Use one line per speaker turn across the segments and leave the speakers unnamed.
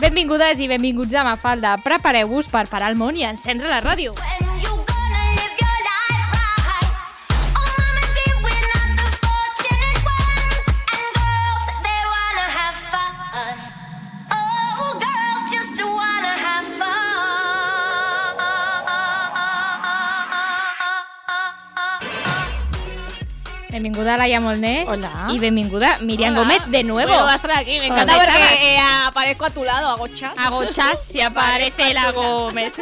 Benvingudes i benvinguts a Mafalda. Prepareu-vos per parar el món i encendre la ràdio.
When you gonna live your life right? Oh, mama, dear, we're not the fortunate ones. And girls, they wanna have fun. Oh, girls just wanna have fun.
Benvinguda Laia Molné.
Hola.
I benvinguda Miriam
Hola.
Gómez de nuevo.
Vuelvo a estar aquí, me Ah, encanta
Hola.
porque eh, aparezco a tu lado, hago chas.
Agochas si aparece la Gómez.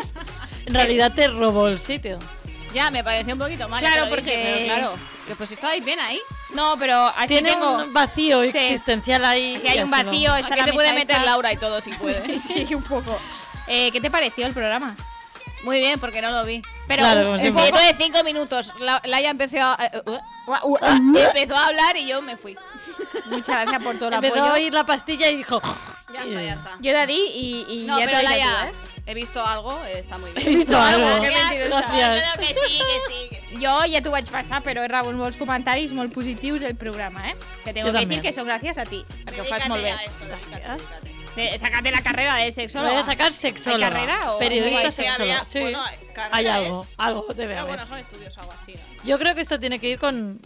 En realidad te robó el sitio. Ya, me pareció un poquito mal.
Claro,
te lo dije,
porque-
pero claro, que pues estabais bien ahí.
No, pero así
Tiene
tengo...
un vacío
Sí.
existencial ahí.
Que hay un
Ya se va.
vacío, está
Aquí
la
se puede
mesa
meter
esta.
Laura y todo si puedes.
Sí, un poco. Eh, ¿Qué te pareció el programa?
Muy bien, porque no lo vi.
Pero
Claro,
un-
como
un
El
siempre.
poco-
folleto de 5 minutos. La- Laia empezó a, eh, uh, uh, uh, empezó a hablar y yo me fui.
Muchas gracias por todo el
Empezó a
apoyo.
oír la pastilla y dijo...
Ya está, ya está.
Yo de di y, y
No,
ya te
pero
lo dije a
Laia,
tu,
he visto algo, eh, está muy
He
bien.
visto algo.
Que mentirosa.
Gràcies.
que sí, que sí, que sí.
eh? Jo ja t'ho vaig passar, però he rebut molts comentaris molt positius del programa, eh? Que tengo
Jo
que
també.
dir que són gràcies a ti, perquè ho fas
Dedícate
molt bé.
a eso, dedícate,
Gràcies.
dedícate.
De, sacate la carrera de sexóloga.
Voy a sacar sexóloga.
¿Hay carrera o-
Periodista
Sí, sí,
sexóloga.
habría-
Sí,
bueno, carrera
hay algo.
es.
Algo debe
Pero
haber.
bueno, son estudios o algo así. ¿no?
Yo creo que esto tiene que ir con...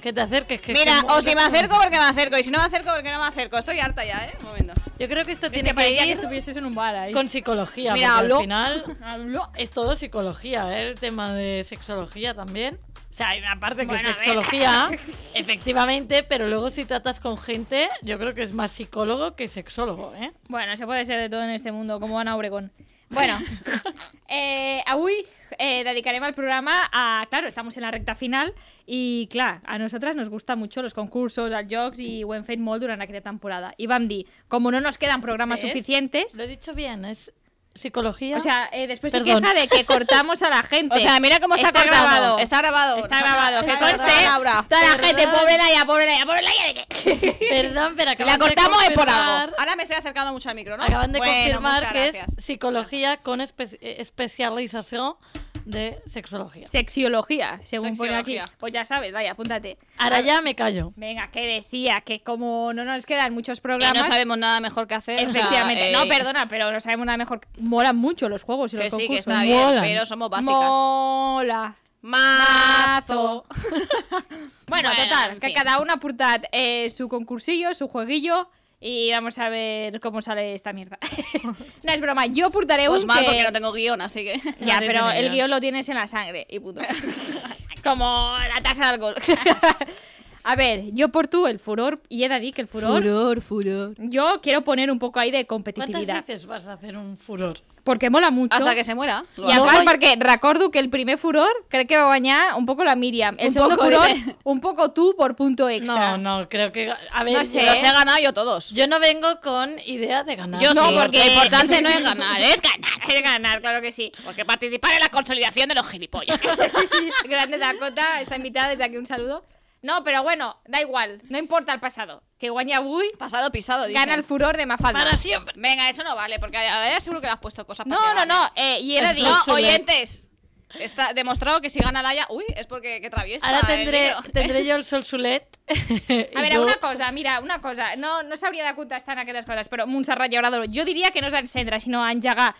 Que te acerques. Que
Mira,
como-
o si me acerco porque me acerco, y si no me acerco porque no me acerco. Estoy harta ya, ¿eh? Un momento.
Yo creo que esto
Es
tiene
que
que,
parecía que
ir
estuvieses en un bar ahí.
con psicología.
Mira,
porque
habló.
al final
Habló.
es todo psicología, ¿eh? el tema de sexología también. O sea, hay una parte que
Bueno, a
es
ver.
sexología, efectivamente, pero luego si tratas con gente, yo creo que es más psicólogo que sexólogo, ¿eh?
Bueno, se puede ser de todo en este mundo, com Ana Obregón. Bueno, eh, avui eh, dedicarem el programa a... Claro, estamos en la recta final i, clar, a nosaltres nos gusta mucho los concursos, els jocs i ho hem fet molt durant aquesta temporada. I vam dir, com no nos quedan programas
¿Ves?
suficientes...
Lo he dicho bien, es psicología.
O sea, eh, después se
Perdón.
queja de que cortamos a la gente.
O sea, mira cómo está, cortado.
grabado.
Está grabado.
Está
No,
grabado,
no,
que
no,
conste.
no, Laura.
Toda la
Perdón.
gente, pobre Laia, pobre Laia, pobre Laia, de que...
perdón, pero
Si
acaban
la cortamos
de
es por
confirmar,
algo. Ahora me estoy acercando mucho al micro, ¿no?
Acaban de
Bueno,
confirmar
muchas
que
gracias.
es psicología con espe- eh, especialización de sexología.
Pues,
Sexiología, según pone aquí.
Sexiología.
Pues ya sabes, Laia, apúntate.
Ahora ya me callo.
Venga, que decía que como no nos quedan muchos
Y no
programas...
sabemos nada mejor que hacer. o sea,
Efectivamente.
eh,
no, perdona, pero no sabemos nada mejor. Molan mucho los juegos y
Que
los
sí, que
concursos.
está bien,
Molan.
pero somos básicas.
Mola.
Mazo.
Bueno,
Bueno,
total,
en
que
fin.
cada una aportad eh, su concursillo, su jueguillo y vamos a ver cómo sale esta mierda. no es broma, yo aportaré
Pues
un
mal
que-
porque no tengo guión, así que.
Ya,
Madre
pero
mía.
el guión lo tienes en la sangre y puto. Como la tasa de alcohol. a ver, yo por tú el furor y he de dir que el furor,
furor.
yo quiero poner un poco ahí de
¿Cuántas
competitividad
veces vas a hacer un furor?
porque mola mucho.
Hasta que se muera. lo
I a
hago.
part perquè recordo que el primer furor crec que va guanyar un poco la Miriam. El segundo
poco,
furor,
dice.
un poco tú por punto extra.
No, Eh, no, creo que. A ver,
No
yo-
sé.
Los he ganado yo todos.
Yo no vengo con idea de ganar.
Yo
No,
sí,
porque-
lo importante no es ganar, es ganar.
Es ganar, claro que sí.
Porque participar en la consolidación de los gilipollas.
sí, sí. Grande Dakota, está invitada desde aquí un saludo. No, pero bueno, da igual, no importa el pasado. Que guanya avui,
Pasado pisado, dicen.
gana el furor de Mafalda.
Para siempre.
Venga, eso no vale, porque a ella seguro que le has puesto cosas para
No,
que
no,
gane.
no, eh, y era
Eso
dir-
es-
No, oyentes. Está demostrado que si gana Laia, uy, es porque que traviesa.
Ahora
el
tendré,
negro.
tendré yo el sol sulet.
A veure, una cosa, mira, una cosa, no, no s'hauria de contestar en aquestes coses, però Montserrat Llaurador, jo diria que no és encendre, sinó engegar.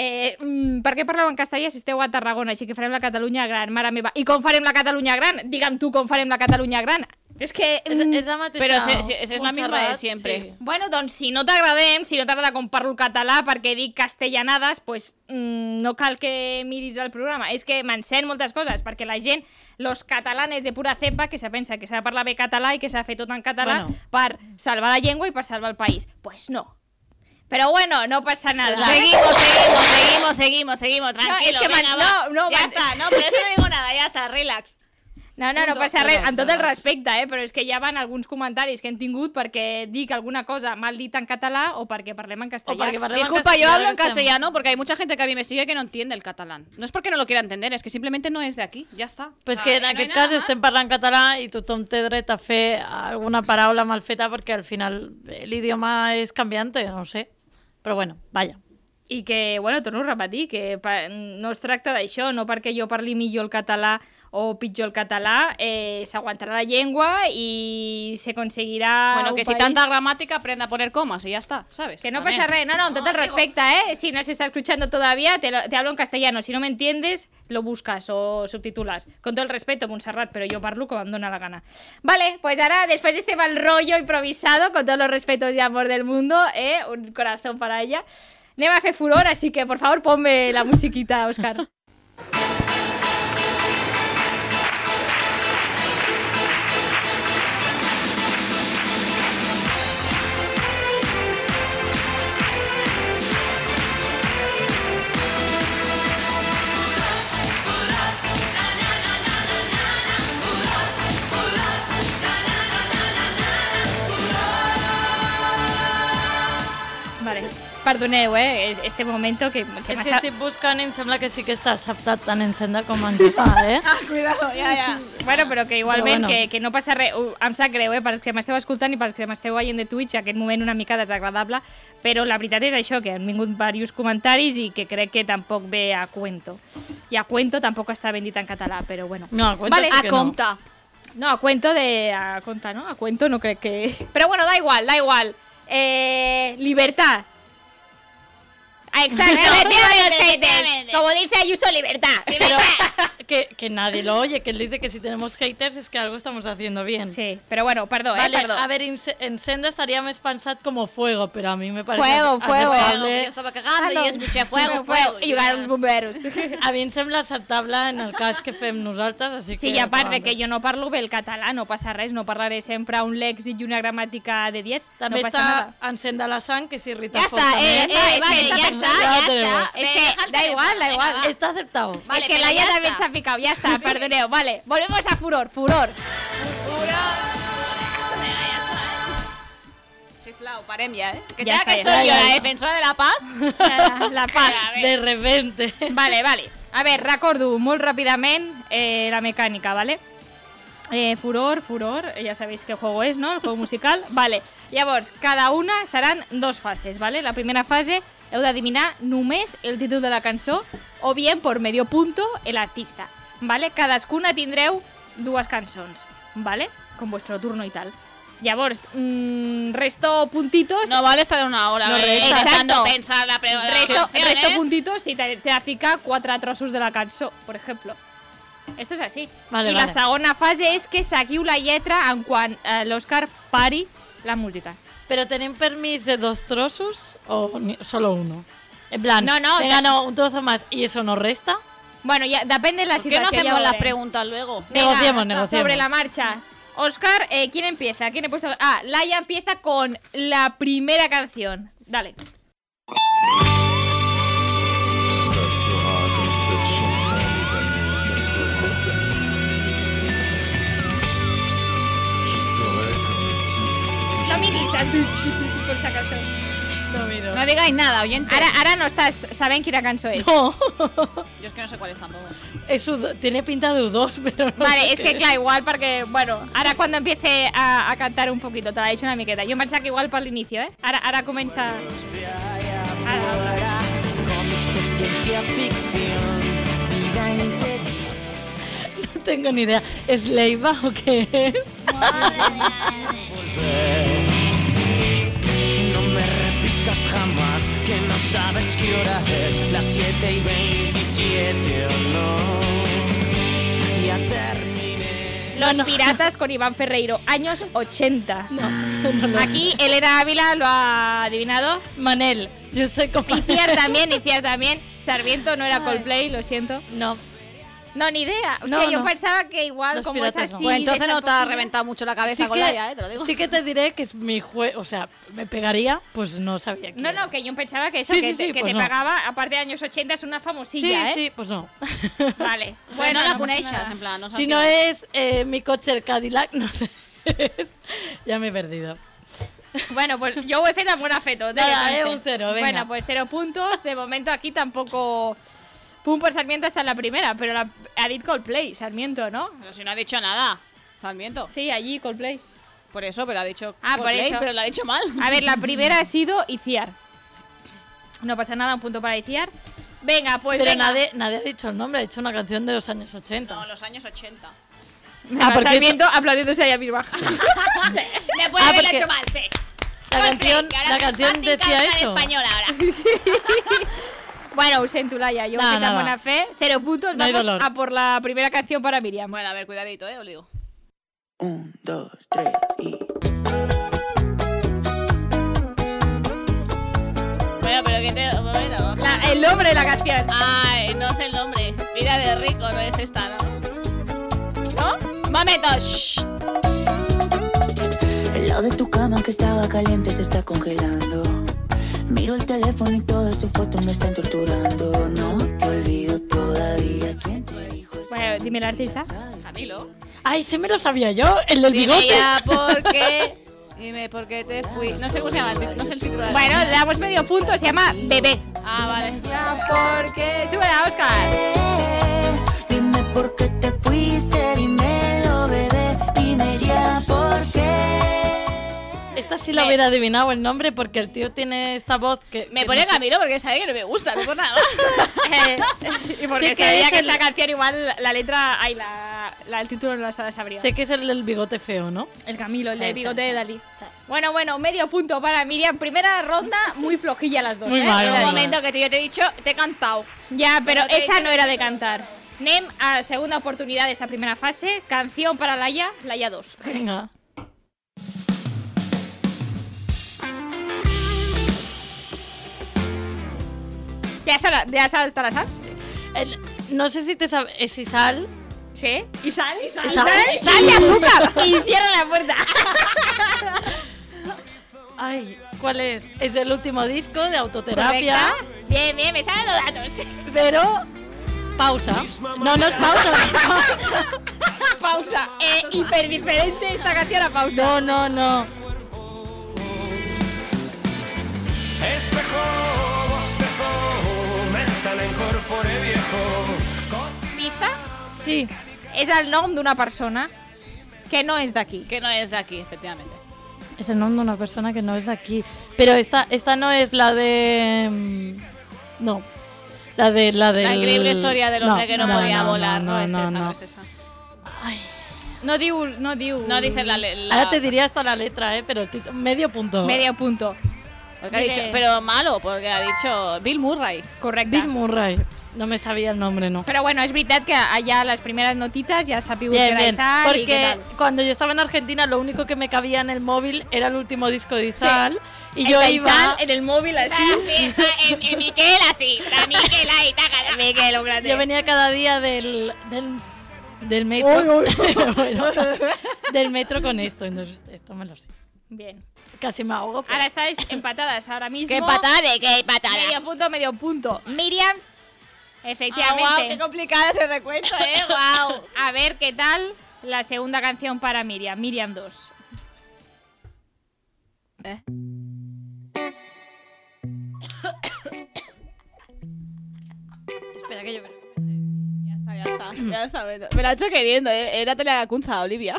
Eh, mm, per què parleu en castellà si esteu a Tarragona? Així que farem la Catalunya gran, mare meva. I com farem la Catalunya gran? Digue'm tu com farem la Catalunya gran. És que...
Es,
mm,
es la mateixa.
Pero se- se- es la misma de
Montserrat,
siempre.
sí.
Bueno, doncs si no t'agradem, si no t'agrada com parlo català perquè dic castellanades, pues, mm, no cal que miris el programa. És que m'encén moltes coses, perquè la gent, los catalanes de pura cepa, que se pensa que s'ha de parlar bé català i que s'ha de fer tot en català
Bueno.
per salvar la llengua i per salvar el país. Pues no. Però bueno, no passa nada.
Seguimos, seguimos, seguimos, seguimos, seguimos. Tranquilo,
es que
venga,
man-
va.
no, no,
ya
man-
está, no, pero eso no digo nada, ya está, relax.
No, no, no
Un,
passa
dos,
res,
dos,
amb tot el
dos.
respecte, eh? però és que ja van alguns comentaris que hem tingut perquè dic alguna cosa mal dit en català o perquè parlem en castellà.
O perquè parlem en
Disculpa, yo
este
castellano,
hablo en
estamos.
castellano porque hay mucha gente que a mí me sigue que no entiende el catalán. No es porque no lo quiera entender, es que simplemente no es de aquí, ya está.
Pues
Ah,
que en
no hay
aquest
nada
cas
más.
este
estem parlant català i tothom té dret a fer alguna paraula mal feta perquè al final eh, l'idioma és canviante, no ho sé. Però bueno, vaja.
I que, bueno, torno a repetir, que pa- no es tracta d'això, no perquè jo parli millor el català o pitjor el català, eh, s'aguantarà la llengua i s'aconseguirà
Bueno,
un
que si
país-
tanta gramática aprenda a poner comas y ya está, ¿sabes?
Que no
También.
pasa res, no, no, con total respecto, ¿eh? Si no se está escuchando todavía, te, lo- te hablo en castellano. Si no me entiendes, lo buscas o subtitulas. Con todo el respeto, Montserrat, pero yo parlo como me dona la gana. Vale, pues ahora, después de este mal rollo improvisado, con todos los respetos y amor del mundo, ¿eh? Un corazón para ella. Neva hace furor, así que por favor ponme la musiquita, Oscar. Vale, perdoneu, ¿eh? Es- Este momento que, que
És
m'ha
que
sa-
estic buscant i em sembla que sí que està acceptat tant encendre com engegar, eh?
Cuidado, ya, ya.
Bueno, però que igualment,
Però bueno.
que, que no passa res. Ho- Em sap greu, eh, pels que m'esteu escoltant i pels que m'esteu veient de Twitch, aquest moment una mica desagradable, però la veritat és això, que han vingut diversos comentaris i que crec que tampoc ve a cuento. I a cuento tampoc està ben dit en català, però bueno.
No, el cuento
Vale,
sí
A
que no.
compta.
No, a cuento de... A conta, ¿no? A cuento no crec que... Però bueno, da igual, da igual. Eh, libertad. Ah, Exacto, efectivamente,
efectivamente.
Como dice Ayuso, libertad.
Que, que nadie lo oye, que él dice que si tenemos haters es que algo estamos haciendo bien.
Sí, pero bueno, perdó,
Vale,
eh, perdó.
a ver, ince- encenda estaría más pensado como fuego, pero a mí me parece...
Fuego,
ace-
fuego.
aceptable.
Yo estaba cagando y escuché fuego, fuego.
I llegaron els bomberos.
A mí me sembla aceptable en el cas que fem nosaltres, así que...
Sí, i a part de que
endavant.
jo no parlo bé el català, no passa res, no parlaré sempre un lèxic i una gramàtica de 10,
També
no passa
està
nada.
encenda la sang, que si irrita
Ya está, eh,
Ya está,
eh,
es
vale,
que
ya
ya
está,
está, ya
ya
lo
está.
tenemos.
Es
Ve,
que
Eh, deja el
da
teléfono,
igual, da
venga,
igual.
va.
Está aceptado.
Vale,
es que
pero
la
ya
Laia también
está.
se ha picado, ya está, perdoneo. Vale, volvemos a furor, furor.
Chiflao, parem ya, ¿eh? Que
Ya
ya
está,
que
ya
soy yo
está.
la
eh.
defensora de la paz.
La, la paz.
De repente.
Vale, vale. A ver, recordo molt ràpidament eh, la mecànica, ¿vale? Eh, furor, furor, eh, ya sabéis qué juego es, ¿no? El juego musical. Vale, llavors, cada una seran dos fases, ¿vale? La primera fase heu d'adivinar només el títol de la cançó o bien por medio punto el artista, ¿vale? Cadascuna tindreu dues cançons, ¿vale? Con vuestro turno y tal. Llavors, mm, resto puntitos...
No vale estar una hora
No,
eh,
resta.
intentando
Exacto.
pensar la ¿eh? pregunta.
resto, resto puntitos si te, te afica quatre trossos de la cançó, por ejemplo. Esto es así.
Vale,
I la
vale.
segona fase és que seguiu la lletra en quan eh, l'Òscar pari la música.
Pero tenéis permiso de dos trozos o ni- solo uno. En plan,
No, no,
venga,
ya-
no, un trozo más y eso nos resta.
Bueno, ja, depèn de
¿Por
la
qué no
situació.
hacemos
ja
las
veurem.
preguntas luego?
Venga,
negociemos,
hasta-
negociemos.
Sobre la marcha. Óscar, eh, ¿quién empieza? ¿Quién he puesto? Ah, Laia empieza con la primera canción. Dale.
Ça sera dans cette chanson des années 80. Je serai comme les types. que
No
je
miris a tu, por si acaso.
No digáis nada, oyente.
Ara, ara no estàs sabent quina cançó és.
No,
Yo es que no sé cuál es tampoco.
eso tiene pinta de U2, pero no sé
Vale, es
qué
que claro, igual porque, bueno, ahora cuando empiece a, a cantar un poquito, te la he hecho una miqueta. Yo pensaba que igual para el inicio, ¿eh? Ahora, ahora comienza... Ahora.
No tengo ni idea. ¿Es Leiva o qué es?
No me repitas jamás que no sabes qué hora es, las 7 y 27 o no. Ya terminé.
Los piratas con Iván Ferreiro, años 80.
No, no lo sé.
Aquí Elena Ávila lo ha adivinado.
Manel, yo estoy con
Iciar
Manel.
también, Iciar también. Sarmiento no era Coldplay, lo siento.
No,
No, ni idea. Hostia,
No,
yo
no.
pensaba que igual,
Los
como es
piratas no.
así.
Bueno,
de
entonces
esa
no te ha
cocina-
reventado mucho la cabeza
Sí
con
que-
Laia, eh, te lo digo.
Sí que te diré que es mi juez, o sea, me pegaría, pues no sabía que
No, no, que yo pensaba que eso,
Sí,
que,
sí, sí,
te, que
pues
te
no.
pagaba, aparte de años 80, es una famosilla,
Sí,
¿eh?
sí, pues no.
Vale.
Bueno,
Bueno,
la
no pasa
cuneixas,
nada.
en plan, no saps
si
qué
no
va.
es eh, mi coche el Cadillac, no sé. es. ya me he perdido.
Bueno, pues yo voy a hacer buena feto.
Nada, eh, un cero, venga.
Bueno, pues cero puntos. De momento aquí tampoco... Pum por Sarmiento hasta la primera, pero la... ha dit Coldplay, Sarmiento, ¿no?
Pero si no ha dicho nada, Sarmiento.
Sí, allí Coldplay.
Por eso, pero ha dicho.
Ah, por
Coldplay,
eso.
Pero lo ha dicho mal.
A ver, la primera ha sido Iciar. No pasa nada, un punto para Iciar. Venga, pues
Pero
venga.
nadie, nadie ha dicho el nombre, ha dicho una canción de los años 80.
No, los años 80.
Ah, porque
Sarmiento aplaudiéndose a ella misma.
Le puede
Ah,
haber
porque-
hecho mal, sí.
la
Coldplay,
canción,
que ahora
la
es más
canción
fácil
decía
cantar
eso.
español ahora.
bueno, ausento Laia, yo
No,
que tan
nada.
buena fe. Cero puntos,
No hay
vamos
dolor.
a por la primera canción para Miriam.
Bueno, a ver, cuidadito, eh, os digo.
Un, dos, tres y.
Bueno, pero que te. bueno,
La- el nombre de la canción,
Ay, no sé el nombre. Vida de rico, no es esta, ¿no?
¿no?
¡Momento! shh.
El lado de tu cama que estaba caliente se está congelando. Miro el teléfono y todas tus fotos me están torturando. No te olvido todavía quién te dijo eso.
Bueno, dime el artista.
Camilo.
Ay, sí me lo sabía yo, el del
Dime
bigote.
ya por qué. Dime por qué te fui. No sé cómo se llama, el tit- no sé el título. de la
Bueno, le damos medio punto, se llama Bebé.
canción. Ah, vale.
Ya, porque... Sube a Oscar.
Dime por qué te fuiste, dímelo, bebé. Dime ya por qué.
Esta sí la hubiera adivinado el nombre porque el tío tiene esta voz que.
Me
que
pone
no sé-
Camilo porque sabe que no me gusta, no por nada.
y porque
Sí que
sabía
es
que
el-
esta canción igual la letra... Ay, la, la- el título no la sabría.
Sé que es el del bigote feo, ¿no?
El Camilo, el de
Sí,
bigote
sí,
de Dalí. Bueno, bueno, medio punto para Miriam. Primera ronda, muy flojilla las dos.
Muy
¿eh?
mal,
En
muy
un
mal.
momento que te- yo te he dicho, te he cantado.
Ya, pero
Bueno, te-
esa no era de cantar. Nem, a segunda oportunidad de esta primera fase. Canción para Laia, Laia 2.
Venga.
¿Ya sabes ya sabes, te la saps?
El- no sé si te sabes. ¿Es Isal?
Sí. ¿Y sal? ¿Y sal? ¿Y
sal.
sal? ¿Y sal y azúcar! Y cierra la puerta.
Ay, ¿cuál es? Es del último disco de Autoterapia.
Correcta. Bien, bien, me están dando datos.
Pero. Pausa. No, no es pausa.
Pausa. Eh, hiperdiferente esta canción a pausa.
No, no, no.
Espejo, bostezo, mensal en corpore viejo.
Pista
Sí.
és el nom d'una persona que no és d'aquí.
Que no es de aquí, efectivamente.
Es el nombre de una persona que no es de aquí. Pero esta, esta no es la de. mm, No. La de. La, del...
La increíble historia del hombre
No,
que Eh, no, podía volar. No, es esa, no,
no.
es esa.
No diu... No, diu...
No dice la. la
Ahora te diría hasta la letra, ¿eh? Pero tit- medio punto.
Medio punto.
porque ha dicho, pero malo, porque ha dicho Bill Murray.
Correcte.
Bill Murray. No me sabía el nombre, no.
Però bueno, és veritat que allà les primeres notites ja s'ha pigut
Bien,
que era
bien.
Izal i què
Porque
tal.
cuando yo estaba en Argentina, lo único que me cabía en el móvil era el último disco de Izal. Y yo
Está
iba.
Izal en el móvil así.
Así, Ah, en, en Miquel así. La Miquel ahí, taca. Miquel, un grande.
Yo venía cada día del. del, del metro. Bueno, del metro con esto. Entonces, esto me lo sé.
Bien.
Casi me ahogo. pero-
Ahora estáis empatadas ahora mismo.
Qué patada de qué patada.
Medio punto, medio punto. Miriam,
Ah, guau, qué
efectivamente.
complicada ese recuento, eh. Wow.
A ver qué tal la segunda canción para Miriam. Miriam 2.
Espera que yo creo.
ya está, ya está. Ya está. bueno. Me la ha hecho queriendo, eh. Era Teleacunza, Olivia.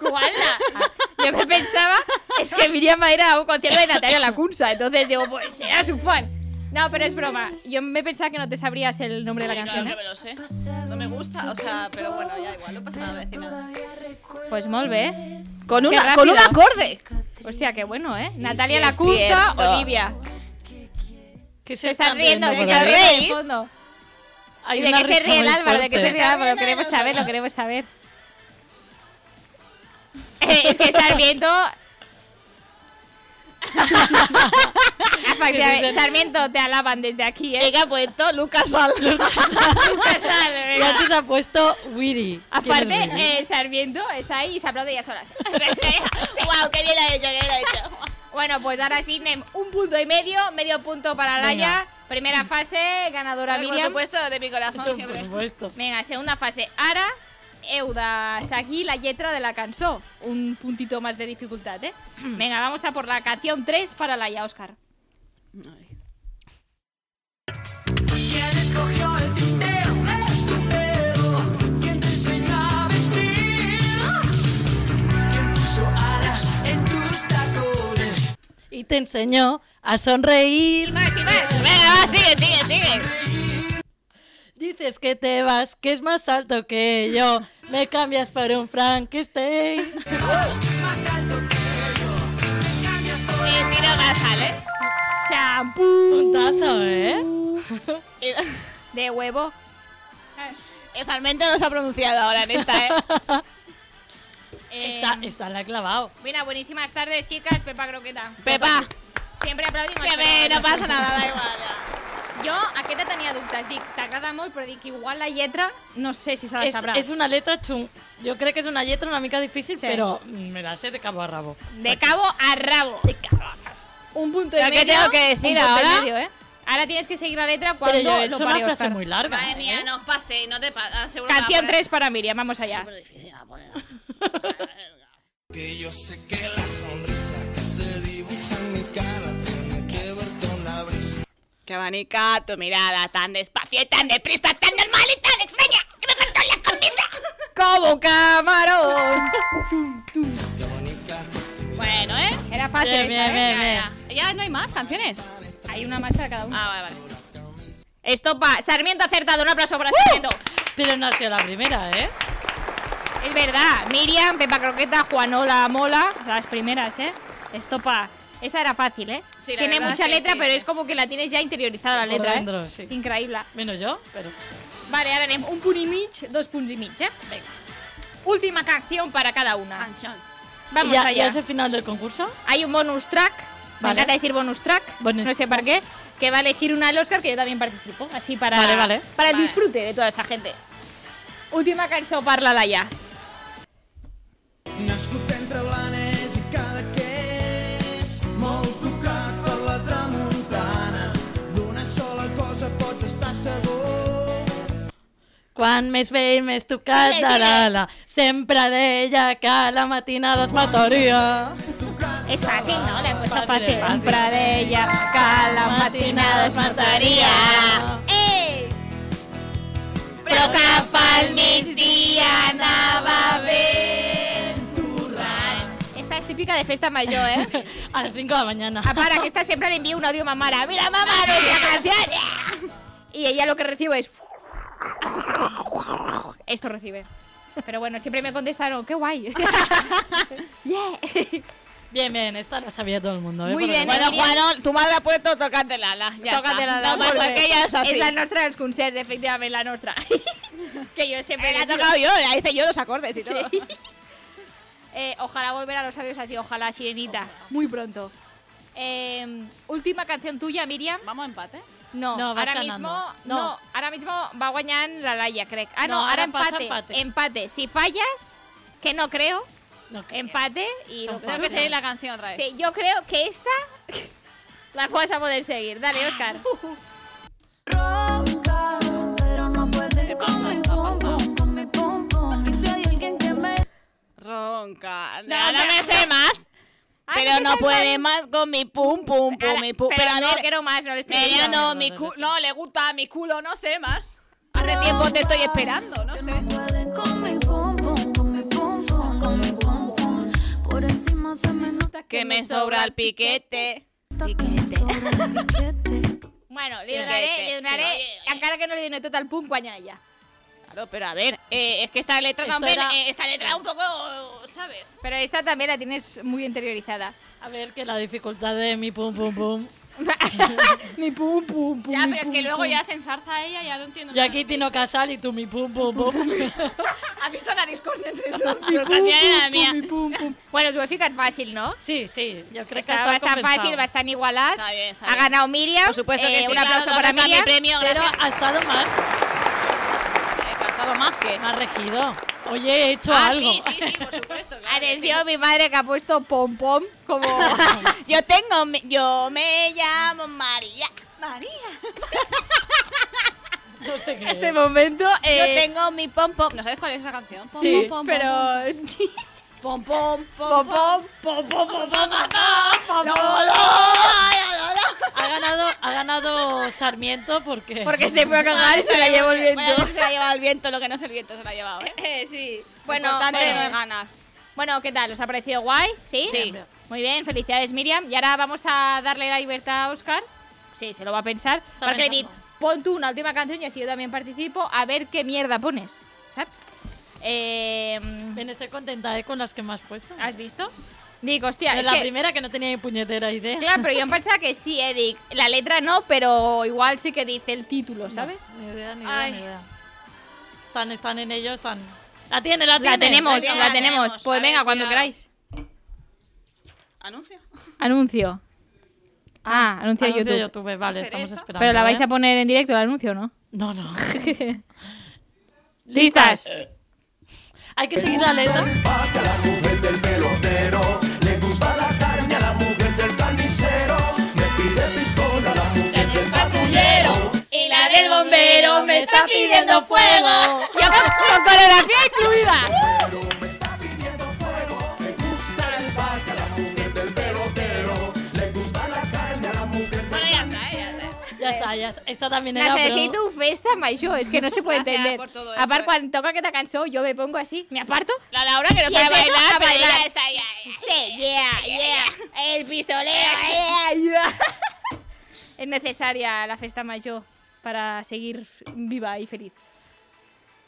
¿Cuál? Yo me pensaba, es que Miriam va a ir a un concierto de Natalia Lacunza, entonces digo, pues será su fan. No, pero es broma. Yo me pensaba que no te sabrías el nombre de la canción. ¿eh?
me lo sé. No me gusta, o sea, pero bueno, ya igual, no pasa nada.
¿eh? Pues molt bé.
Con,
Qué
una, con un
rápido.
acorde.
Hostia, qué bueno, ¿eh? Natalia
es
Lacunza,
cierto.
Olivia.
Que se
Se está riendo, se
por
está
ahí.
riendo en el
¿Veis?
fondo.
Hay
¿Y de
una
qué se
risa
ríe el
muy
Álvaro? ¿De qué se
fuerte.
ríe el Álvaro? Lo queremos saber, lo queremos saber. Eh, es que Sarmiento Efectivamente, Sarmiento, te alaban desde aquí, ¿eh?
ha puesto pues, Lucas Sal.
Lucas Sal,
y
venga.
antes ha puesto Willy.
Aparte, eh, Sarmiento está ahí y se aplaude ya solas.
¡Wow! ¡Qué bien lo ha hecho! ¡Qué bien lo ha hecho!
Bueno, pues ahora sí, Nem, un punto y medio, medio punto para Laia. Primera
Mm.
fase, ganadora
Por
Miriam.
supuesto, de mi corazón
Eso, por
siempre.
supuesto.
Venga, segunda fase, Ara. Eudas aquí la letra de la canción. Un puntito más de dificultad, ¿eh?
Mm.
Venga, vamos a por la canción 3 para Laia, Oscar.
¿Quién escogió el tintero? El tintero. ¿Quién te enseñó a vestir? ¿Quién puso alas en tus tacones?
Y te enseñó a sonreír.
Más y más.
Venga, va, sigue, sigue, sigue.
Dices que te vas, que es más alto que yo. Me cambias por un Frankenstein.
Más alto que yo. Me cambias por
Y tiro más, ¿vale?
Champú
Puntazo, ¿eh?
de huevo.
El Sarmiento no se ha pronunciado ahora en esta, ¿eh?
Eh,
Está, está la ha clavado.
Buena, buenísimas tardes, chicas. Pepa Croqueta.
Pepa,
Siempre aplaudimos.
que
pero
ve, no
bueno.
pasa nada, da igual. da.
Jo aquesta tenia dubtes, dic, t'agrada molt, però dic, igual la lletra no sé si se la
Es,
sabrà.
es una letra chun. Yo creo que es una letra una mica difícil,
Sí.
pero me la sé de cabo a rabo.
De cabo a rabo.
De cabo a rabo.
Un punto
Pero
y
¿qué
medio.
tengo que decir
un punto y
ahora?
medio, ¿eh? Ahora tienes que seguir la letra cuando
Pero yo he
lo
hecho
pare
una frase
Oscar.
muy larga.
Madre
¿eh?
mía, no os paséis, no te pases.
Canción 3 para Miriam, vamos allá.
Que yo sé que la sonrisa que se dibuja en mi cara tiene que ver con la brisa.
Que abanica tu mirada tan despacio y tan deprisa, tan normal y tan extraña, que me faltó la camisa.
Como camarón.
Que abanica tu
Bueno, ¿eh?
Era fácil.
Bien,
esta,
bien,
¿eh?
bien, bien.
Ya no hay más canciones.
Hay una más para cada uno.
Ah, vale, vale.
Estopa, Sarmiento acertado, un aplauso para Sarmiento.
¡Uh!
Pero no ha sido la primera, ¿eh?
Es verdad, Miriam, Pepa Croqueta, Juanola Mola, las primeras, ¿eh? Estopa. Esta era fácil, ¿eh?
Sí, la
Tiene
verdad
mucha
es que
letra,
sí,
pero
sí.
es como que la tienes ya interiorizada la
Por
letra, ¿eh?
dentro, sí.
Increïble.
Menos yo, pero.
Vale, ahora anem un punt i mig, dos punts i mig, eh? Venga. Última canción para cada una.
Canción.
Vamos
¿Ya,
allá.
ya es el final del concurso?
Hay un bonus track. Me
Vale.
encanta decir bonus track.
Bonus
no sé por qué. Que va a elegir una al Oscar que yo también participo. Así para,
Vale, vale.
para el
Vale.
disfrute de toda esta gente. Última canción para la ya.
Nascut entre Blanes i Cadaqués, molt tocat per la tramuntana. D'una sola cosa pots estar segur.
Quan més vell, més tocat de l'ala. Sempre deia que a la matinada es mataria.
Es fácil, ¿no? La puesto
Fácil,
fácil.
fácil.
Compra de ella, que la matinada es mataria. ¡Eh!
Però cap al migdia anava bé.
Esta es típica de festa mayor, ¿eh?
A las 5 de la mañana.
Ah, para que esta siempre le envío un audio a mamara. Mira, mamá, nuestra canción. Y ella lo que recibe es. Esto recibe. Pero bueno, siempre me contestaron, qué guay.
Bien, bien, esta la sabía todo el mundo. ¿eh?
Muy
Por
bien,
ejemplo.
Bueno, Juanol, tu madre ha puesto Tócate la ala. Ya
Tócate
está.
la
no, más
porque
porque ella es así.
la nuestra de los concerts, efectivamente, la nuestra. que yo siempre
Me la
le
ha
digo-
tocado yo, la hice yo los acordes y todo.
Eh, ojalá volver a los audios así, ojalá, Sirenita. Muy pronto. Eh, última canción tuya, Miriam.
¿Vamos a empate?
No,
No, vas
ahora
ganando.
mismo no.
No.
ara mismo va guanyant la Laia, crec. Ah, no,
No,
ahora
ara passa
empate, empate.
empate.
Si fallas, que no creo,
No, que-
empate y
Son
Tengo
lo
Claro
que
que
seguir
no.
la canción otra
eh.
vez.
Sí, yo creo que esta la vas a poder seguir. Dale, Oscar.
Ronca, pero no puede con mi pum pum, con mi pum pum. Y si hay alguien que me
Ronca.
No,
No, no,
pero-
me sé más.
Ah,
Pero
te
no
sabes
puede más con mi pum, pum,
Ahora,
pum, mi pum.
Pero,
Pero a
no
mí
quiero más, no le estoy
Me
diciendo.
no, mi culo, no, le gusta mi culo, no sé más. Hace tiempo te estoy esperando, no sé.
pueden con mi pum pum, con mi pum pum, con mi pum pum. Por encima se me nota
Que me sobra el piquete.
que me sobra el piquete.
Bueno, li
Sí,
donaré,
que-
li
que-
donaré,
sí, oye, oye.
encara que no li doné tot el punt, guanya ella.
Claro, pero a ver, eh, es que esta letra
Esto
también,
era-
eh, esta letra un poco, ¿sabes?
Pero esta también la tienes muy interiorizada.
A ver, que la dificultad de mi pum pum pum
Mi pum, pum, pum.
Ya,
mi
pero es que
pum,
luego
pum.
ya se enzarza ella, ya lo entiendo.
Y aquí Tino Casal y tú mi pum pum pum.
¿Has visto la discordia entre dos?
Mi pum,
Tatiana
pum,
era la
pum,
mía.
mi pum, pum. Bueno, us ho he ficat fàcil, no?
Sí, sí, yo creo que
Está
está
bastant
compensado.
fácil, bastant igualat.
Está bien, está
ha
bien.
ganado Miriam.
Por supuesto que
Eh,
sí,
Un
claro,
aplauso
¿dónde
para
está mi
Miriam.
premio?
Pero
Gracias.
ha estado más, eh,
He cantado más que.
más regido. Oye, he hecho
Ah,
algo.
sí, sí, sí, por supuesto. Claro, que sí.
Atención, mi madre que ha puesto pom pom como
Yo tengo. mi- Yo me llamo María.
No sé qué.
este
es.
momento.
Yo
eh,
tengo mi pompo.
¿No sabes cuál es esa canción? Pom,
Sí.
pom, pom,
Pero
Pom, pom,
pom pom
pom, pom.
pom pom pom pom pom, pom,
Ha ganado, ha ganado Sarmiento porque.
porque se fue a cagar y se la llevó el
Vaya,
viento.
se la ha llevado el viento, lo que no es el viento se la ha llevado. ¿eh?
Eh, sí. Bueno,
Bueno, importante
bueno.
no es ganar.
Bueno, ¿qué tal? ¿Os ha parecido guay? ¿Sí?
Sí.
Muy bien, felicidades Miriam. Y ahora vamos a darle la libertad a Oscar. Sí, se lo va a pensar.
Está
Porque
pensando.
pon tú una última canción y así yo también participo a ver qué mierda pones. ¿Sabes? Eh,
Ven, estoy contenta eh, con las que me has puesto.
¿Has visto? Digo, hostia,
De
es
la
Ah, que-
primera que no tenía ni puñetera idea.
Claro, pero yo em pensava que sí, eh, dic, la letra no, pero igual sí que dice el título, ¿sabes?
No, ni idea, ni idea,
Ay.
ni idea. Están, están en ello, están. La tiene, la tiene.
La tenemos,
Venga.
la tenemos.
A
Pues
ver,
venga, cuando
cuidado.
queráis.
Anuncio.
Anuncio. Ah, anuncio de
Anuncio
YouTube.
de YouTube, vale,
¿Hacer
estamos
esto?
esperando.
Pero la vais
¿eh?
a poner en directo el anuncio, ¿no?
No, no.
Listas.
Hay que seguir la letra.
Hasta la mujer del pelotero le gusta la carne a la mujer del carnicero. Me pide pistola a la mujer del patrullero.
Y la del bombero me está pidiendo fuego. Yo con, con coreografía incluida.
Pero me está pidiendo fuego. Me gusta el vaca a la mujer del pelotero. Le gusta la carne a la mujer del
Bueno, ya está, eh, ya está.
Ya está, ya está. Esta también era.
Necesito un festa, mayo. Es que no se puede
Gracias
entender.
por todo esto,
Aparte,
eh.
cuando toca que te cansó, yo me pongo así. ¿Me aparto?
La Laura que no
Y
sabe
empiezo
bailar,
a
pero ella
bailar.
está ya.
Sí, yeah, yeah. El pistolero, yeah, yeah. Es necesaria la festa mayor para seguir f- viva y feliz.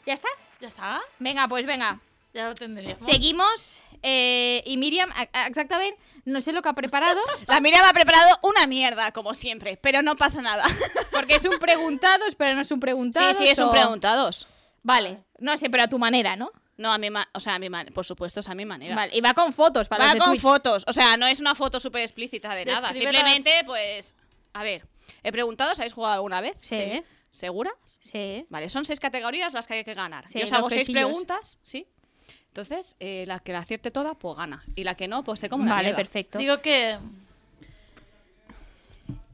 ¿Ya está?
Ya está.
Venga, pues venga.
Ya lo tendríamos.
Seguimos. eh, y Miriam, a- a- exactamente, no sé lo que ha preparado,
La Miriam ha preparado una mierda, como siempre, pero no pasa nada.
porque es un preguntados, pero no es un preguntado.
Sí, sí, es un preguntados.
Vale, no sé, pero a tu manera, ¿no?
No, a mi ma- o sea, a mi man- por supuesto, es a mi manera.
Vale, y va con fotos para
Va
los de
con
Twitch.
fotos, o sea, no es una foto súper explícita de nada.
Describe
Simplemente,
las-
pues, a ver, he preguntado, ¿os ¿habéis jugado alguna vez?
Sí.
¿Seguras?
Sí.
Vale, son seis categorías las que hay que ganar.
Sí,
Yo os
los
hago seis
quesillos.
preguntas, ¿sí? Entonces, eh, la que la acierte toda, pues gana. Y la que no, pues se come una
Vale,
mierda.
perfecto.
Digo que.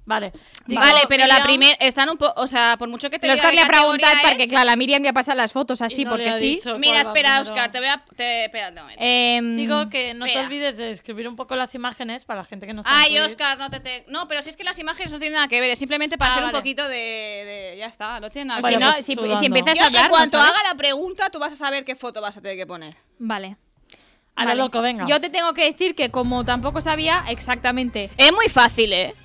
Vale. Digo,
vale, pero la
Miriam-
primera están un poco, o sea, por mucho que te
L'Òscar
diga
li ha
qué categoría
preguntat perquè,
es-
clar, la Míriam li ha passat les fotos
y
així,
no le
perquè
ha
sí.
dicho
Mira,
cuál va
espera,
primero.
Oscar, te voy a te, espera un momento.
Em,
Digo que no te
Espera.
olvides de escribir un poco las imágenes para la gente que no está en
Ay,
Twitch.
Oscar, no te, te- No, pero si es que las imágenes no tienen nada que ver, es simplemente para
Ah,
hacer
vale.
un poquito de, de- Ya está, no tiene nada
o
Bueno,
si no,
pues
si,
sudando.
si empiezas
Yo,
a
¿eh?
en
hablar,
cuanto
no sabes.
¿eh? haga la pregunta, tú vas a saber qué foto vas a tener que poner.
Vale.
A lo
Vale.
loco, venga.
Yo te tengo que decir que como tampoco sabía exactamente,
Es muy fácil, ¿eh?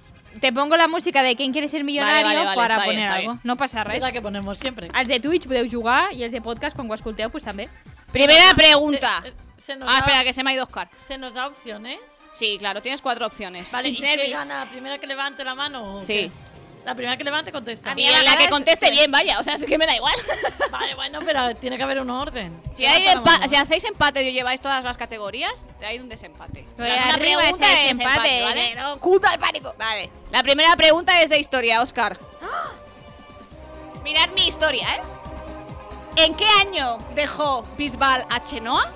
te pongo la música de quien quiere ser millonario
vale, vale,
para
està bé,
poner
està
algo.
bé.
No passa
Es
res.
la que ponemos siempre.
Els de Twitch podeu jugar i els de podcast, quan ho escolteu, pues, també.
Primera pregunta.
Se, eh, se nos
Ah,
da,
espera, que se me ha ido Oscar.
se nos da opciones.
Sí, claro, tienes cuatro opciones.
Vale, ¿y qué
Nervis.
gana? ¿La primera que levante la mano? o qué?
Sí.
La primera que levante contesta.
Y la que conteste bien, vaya, o sea, es que me da igual.
Vale, bueno, pero tiene que haber un orden.
Si,
Levanta
hay
la
empa-
mano.
si hacéis empate y lleváis todas las categorías, hay un desempate.
Pues
La primera
arriba ese
pregunta es
desempate,
empate, ¿vale?
pero
¡Cuta el pánico! Vale. La primera pregunta es de historia, Oscar. Mirad mi historia, ¿eh? ¿En qué año dejó Bisbal a Chenoa?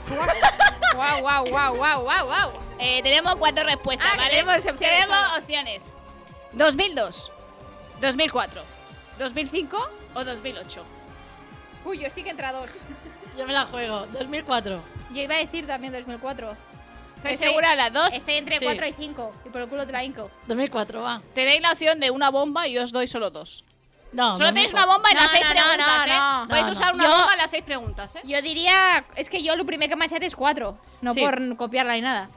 Guau, guau, guau, guau, guau, guau.
Eh, tenemos cuatro respuestas,
Ah,
¿vale?
tenemos opciones,
Tenemos
vale.
opciones.
2002, 2004, 2005 o 2008.
Uy, yo estoy que entre dos.
Yo me la juego. 2004.
Yo iba a decir también 2004.
¿Estáis
Estoy-
seguras las dos?
Estoy entre
Sí.
4 y 5. Y por el culo te la inco.
2004, va.
Tenéis la opción de una bomba y yo os doy solo dos.
No.
Solo tenéis una bomba en
No,
las seis
no, no, no,
preguntas, ¿eh?
no.
Podéis
No, no.
usar una
Yo-
bomba en las seis preguntas, ¿eh?
Yo diría. Es que yo lo primero que me he es 4. No
Sí.
por copiarla ni nada.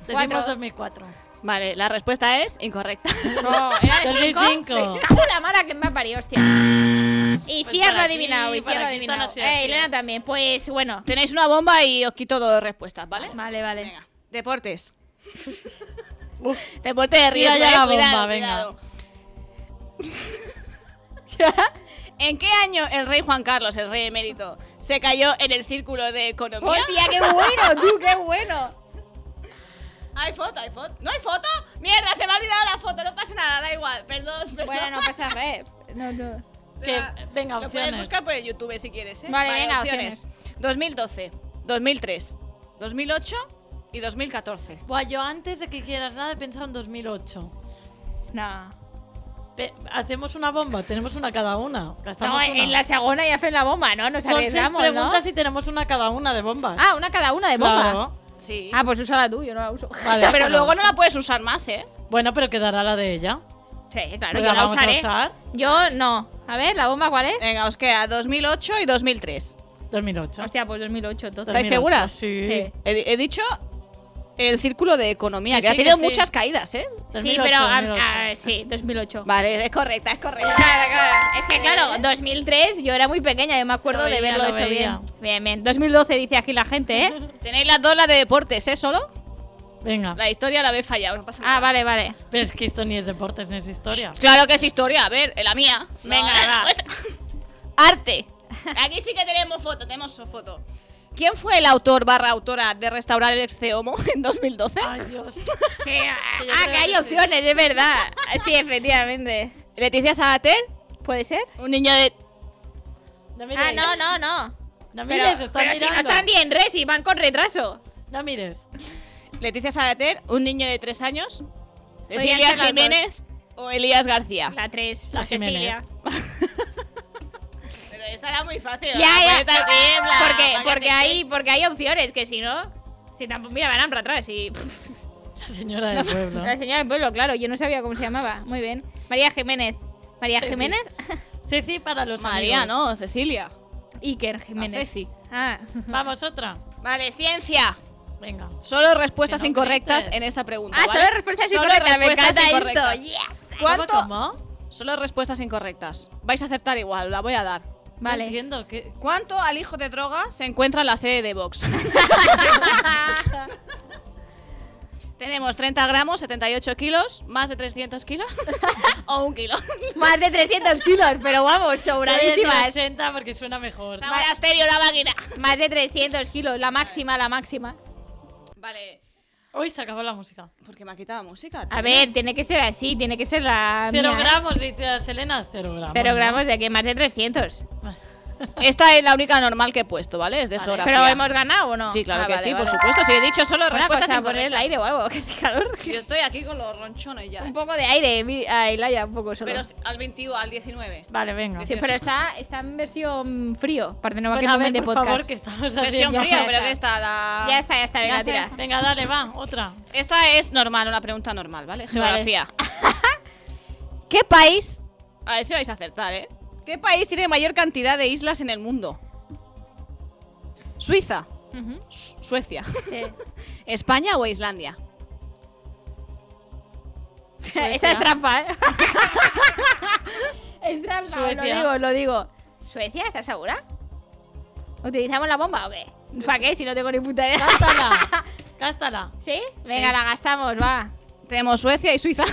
Decimos
cuatro.
2004.
Vale, la respuesta es incorrecta.
No, era de
2005.
5. Cago en la mala que me ha parido, hostia. Y
Pues
cierro
por aquí,
adivinado, y
por
cierro
aquí están
adivinado.
así,
Eh,
así.
Elena también. Pues bueno.
Tenéis una bomba y os quito dos respuestas, ¿vale?
Vale, vale.
Venga, deportes. Deporte de riesgo,
Tira ya
eh,
la
cuidado,
bomba,
cuidado. ¿En qué año el rey Juan Carlos, el rey emérito, se cayó en el círculo de economía?
¡Hostia, qué bueno, tú, qué bueno!
¿Hay foto? ¿Hay foto? ¿No hay foto? Mierda, se me ha olvidado la foto, no pasa nada, da igual, perdón, perdón.
Bueno, no pasa red. No, no.
Que, venga,
Lo puedes
opciones.
buscar por el YouTube si quieres, ¿eh?
Vale, venga,
opciones. 2012, 2003, 2008 y 2014.
Buah, yo antes de que quieras nada he pensado en 2008.
No.
Pe- Hacemos una bomba, tenemos una cada una. Gastamos
No,
una.
en la segunda ya fue la bomba, ¿no? Nos
Son seis
arriesgamos, ¿no?
preguntas y tenemos una cada una de bombas.
Ah, una cada una de bombas.
Claro.
Sí.
Ah, pues úsala tú, yo no la uso.
Vale,
Pero
pues
luego
vamos.
no la puedes usar más, ¿eh?
Bueno, pero quedará la de ella.
Sí, claro,
Porque
yo la
la vamos
usaré.
a usar.
Yo no. A ver, ¿la bomba cuál es?
Venga, os queda 2008 y 2003.
2008.
Hostia, pues 2008, entonces.
2008,
¿Estáis seguras?
Sí.
Sí.
He, he dicho el círculo de economía,
Que
que,
sí,
ha tenido
que sí.
muchas caídas, ¿eh?
sí,
2008,
pero. ah,
2008.
ah, sí, 2008.
Vale, es correcta, es correcta.
Claro, claro. Es que claro, 2003 yo era muy pequeña, yo me acuerdo
Lo
de
veía,
verlo
lo
eso bien.
veía.
Bien, bien. 2012 dice aquí la gente, ¿eh?
Tenéis las dos, la de deportes, ¿eh? Solo.
Venga.
La historia la habéis fallado, no pasa nada.
Ah, vale, vale.
Pero es que esto ni es deportes ni es historia.
Claro que es historia, a ver, eh, la mía.
Venga, va.
esta- Arte. Aquí sí que tenemos foto, tenemos su foto. ¿Quién fue el autor barra autora de restaurar el ex homo en 2012?
Ay, Dios.
Sí, ah,
Que yo
ah,
creo
que hay
que sí.
opciones, es verdad. Sí, efectivamente.
Leticia Sabater,
¿Puede ser?
un niño de...
No mires.
Ah, no, no, no.
No
Pero,
mires, estás
pero si no
mirando.
están bien res y van con retraso.
No mires.
Leticia Sabater, un niño de tres años.
Podrían
Cecilia
ser las
Jiménez o Elías García.
La 3,
La
la Cecilia.
Jiménez.
Pero esta era muy fácil.
Ya,
¿no?
ya.
Pues esta sí, en plan,
porque
¿para qué
porque,
hacéis?
hay, porque hay opciones que si no. Si tampoco, mira, van para atrás y. pff,
La señora del pueblo.
La señora del pueblo, claro, yo no sabía cómo se llamaba. Muy bien. María Jiménez. María Jiménez.
Ceci para los
María,
amigos.
no, Cecilia.
Iker
La
Jiménez.
Ceci.
Ah.
Vamos, otra.
Vale, ciencia.
Venga.
Solo respuestas
Que no
incorrectas
grites.
en esta pregunta.
Ah,
¿vale?
solo respuestas
Solo
incorrectas. Me
respuestas
encanta
incorrectas.
esto. Yes.
¿Cuánto?
¿Cómo, cómo?
Solo respuestas incorrectas. Vais a acertar igual, la voy a dar.
No
Vale.
entiendo. ¿qué?
¿Cuánto al hijo de droga se encuentra en la sede de Vox?
Ah,
Tenemos 30 gramos, 78 kilos, más de 300 kilos o un kilo.
Más de 300 kilos, pero vamos,
Voy a
sobradísimas.
decir 80 porque suena mejor.
Samuel Asterio, la máquina.
Más de 300 kilos, la máxima, la máxima.
Vale,
Uy, se acabó la música.
porque me ha quitado música.
A ver, tiene que ser así, tiene que ser la.
Cero
mía. ¿eh?
gramos, dice Selena. Cero gramos.
Cero
¿no?
gramos de que más de 300.
Esta es la única normal que he puesto, ¿vale? Es de
Vale.
geografía.
Pero hemos ganado o no?
Sí, claro
Ah,
que
vale,
sí,
vale.
por supuesto. Si he dicho solo
Una
respuestas
cosa, poner el
incorrectas.
aire o algo, que hace calor.
Yo estoy aquí con los ronchones ya. ¿eh?
Un poco de aire, mi- ay, Laia, un poco solo.
Pero si- al 21, al 19.
Vale, venga.
Sí, pero está, está en versión frío, para no va que
Bueno, a
comen
ver,
de
por
podcast.
favor, que estamos
Versión
haciendo...
fría,
ya
pero
está.
que está la...
Ya está, ya está, venga,
Ya
tira.
está. Venga, dale, va, otra.
Esta es normal, una pregunta normal, ¿vale? Geografía. ¿Qué país? A ver si vais a acertar, ¿eh? ¿Qué país tiene mayor cantidad de islas en el mundo? Suiza,
Ujú,
Su- Suecia,
sí.
España o Islandia.
Esta es trampa, ¿eh? es trampa,
Suecia.
lo digo, lo digo. ¿Suecia? ¿Estás segura? ¿Utilizamos la bomba o qué? ¿Para qué? Si no tengo ni puta idea.
Gástala. Gástala.
¿Sí? Venga, la gastamos, va.
Tenemos Suecia y Suiza.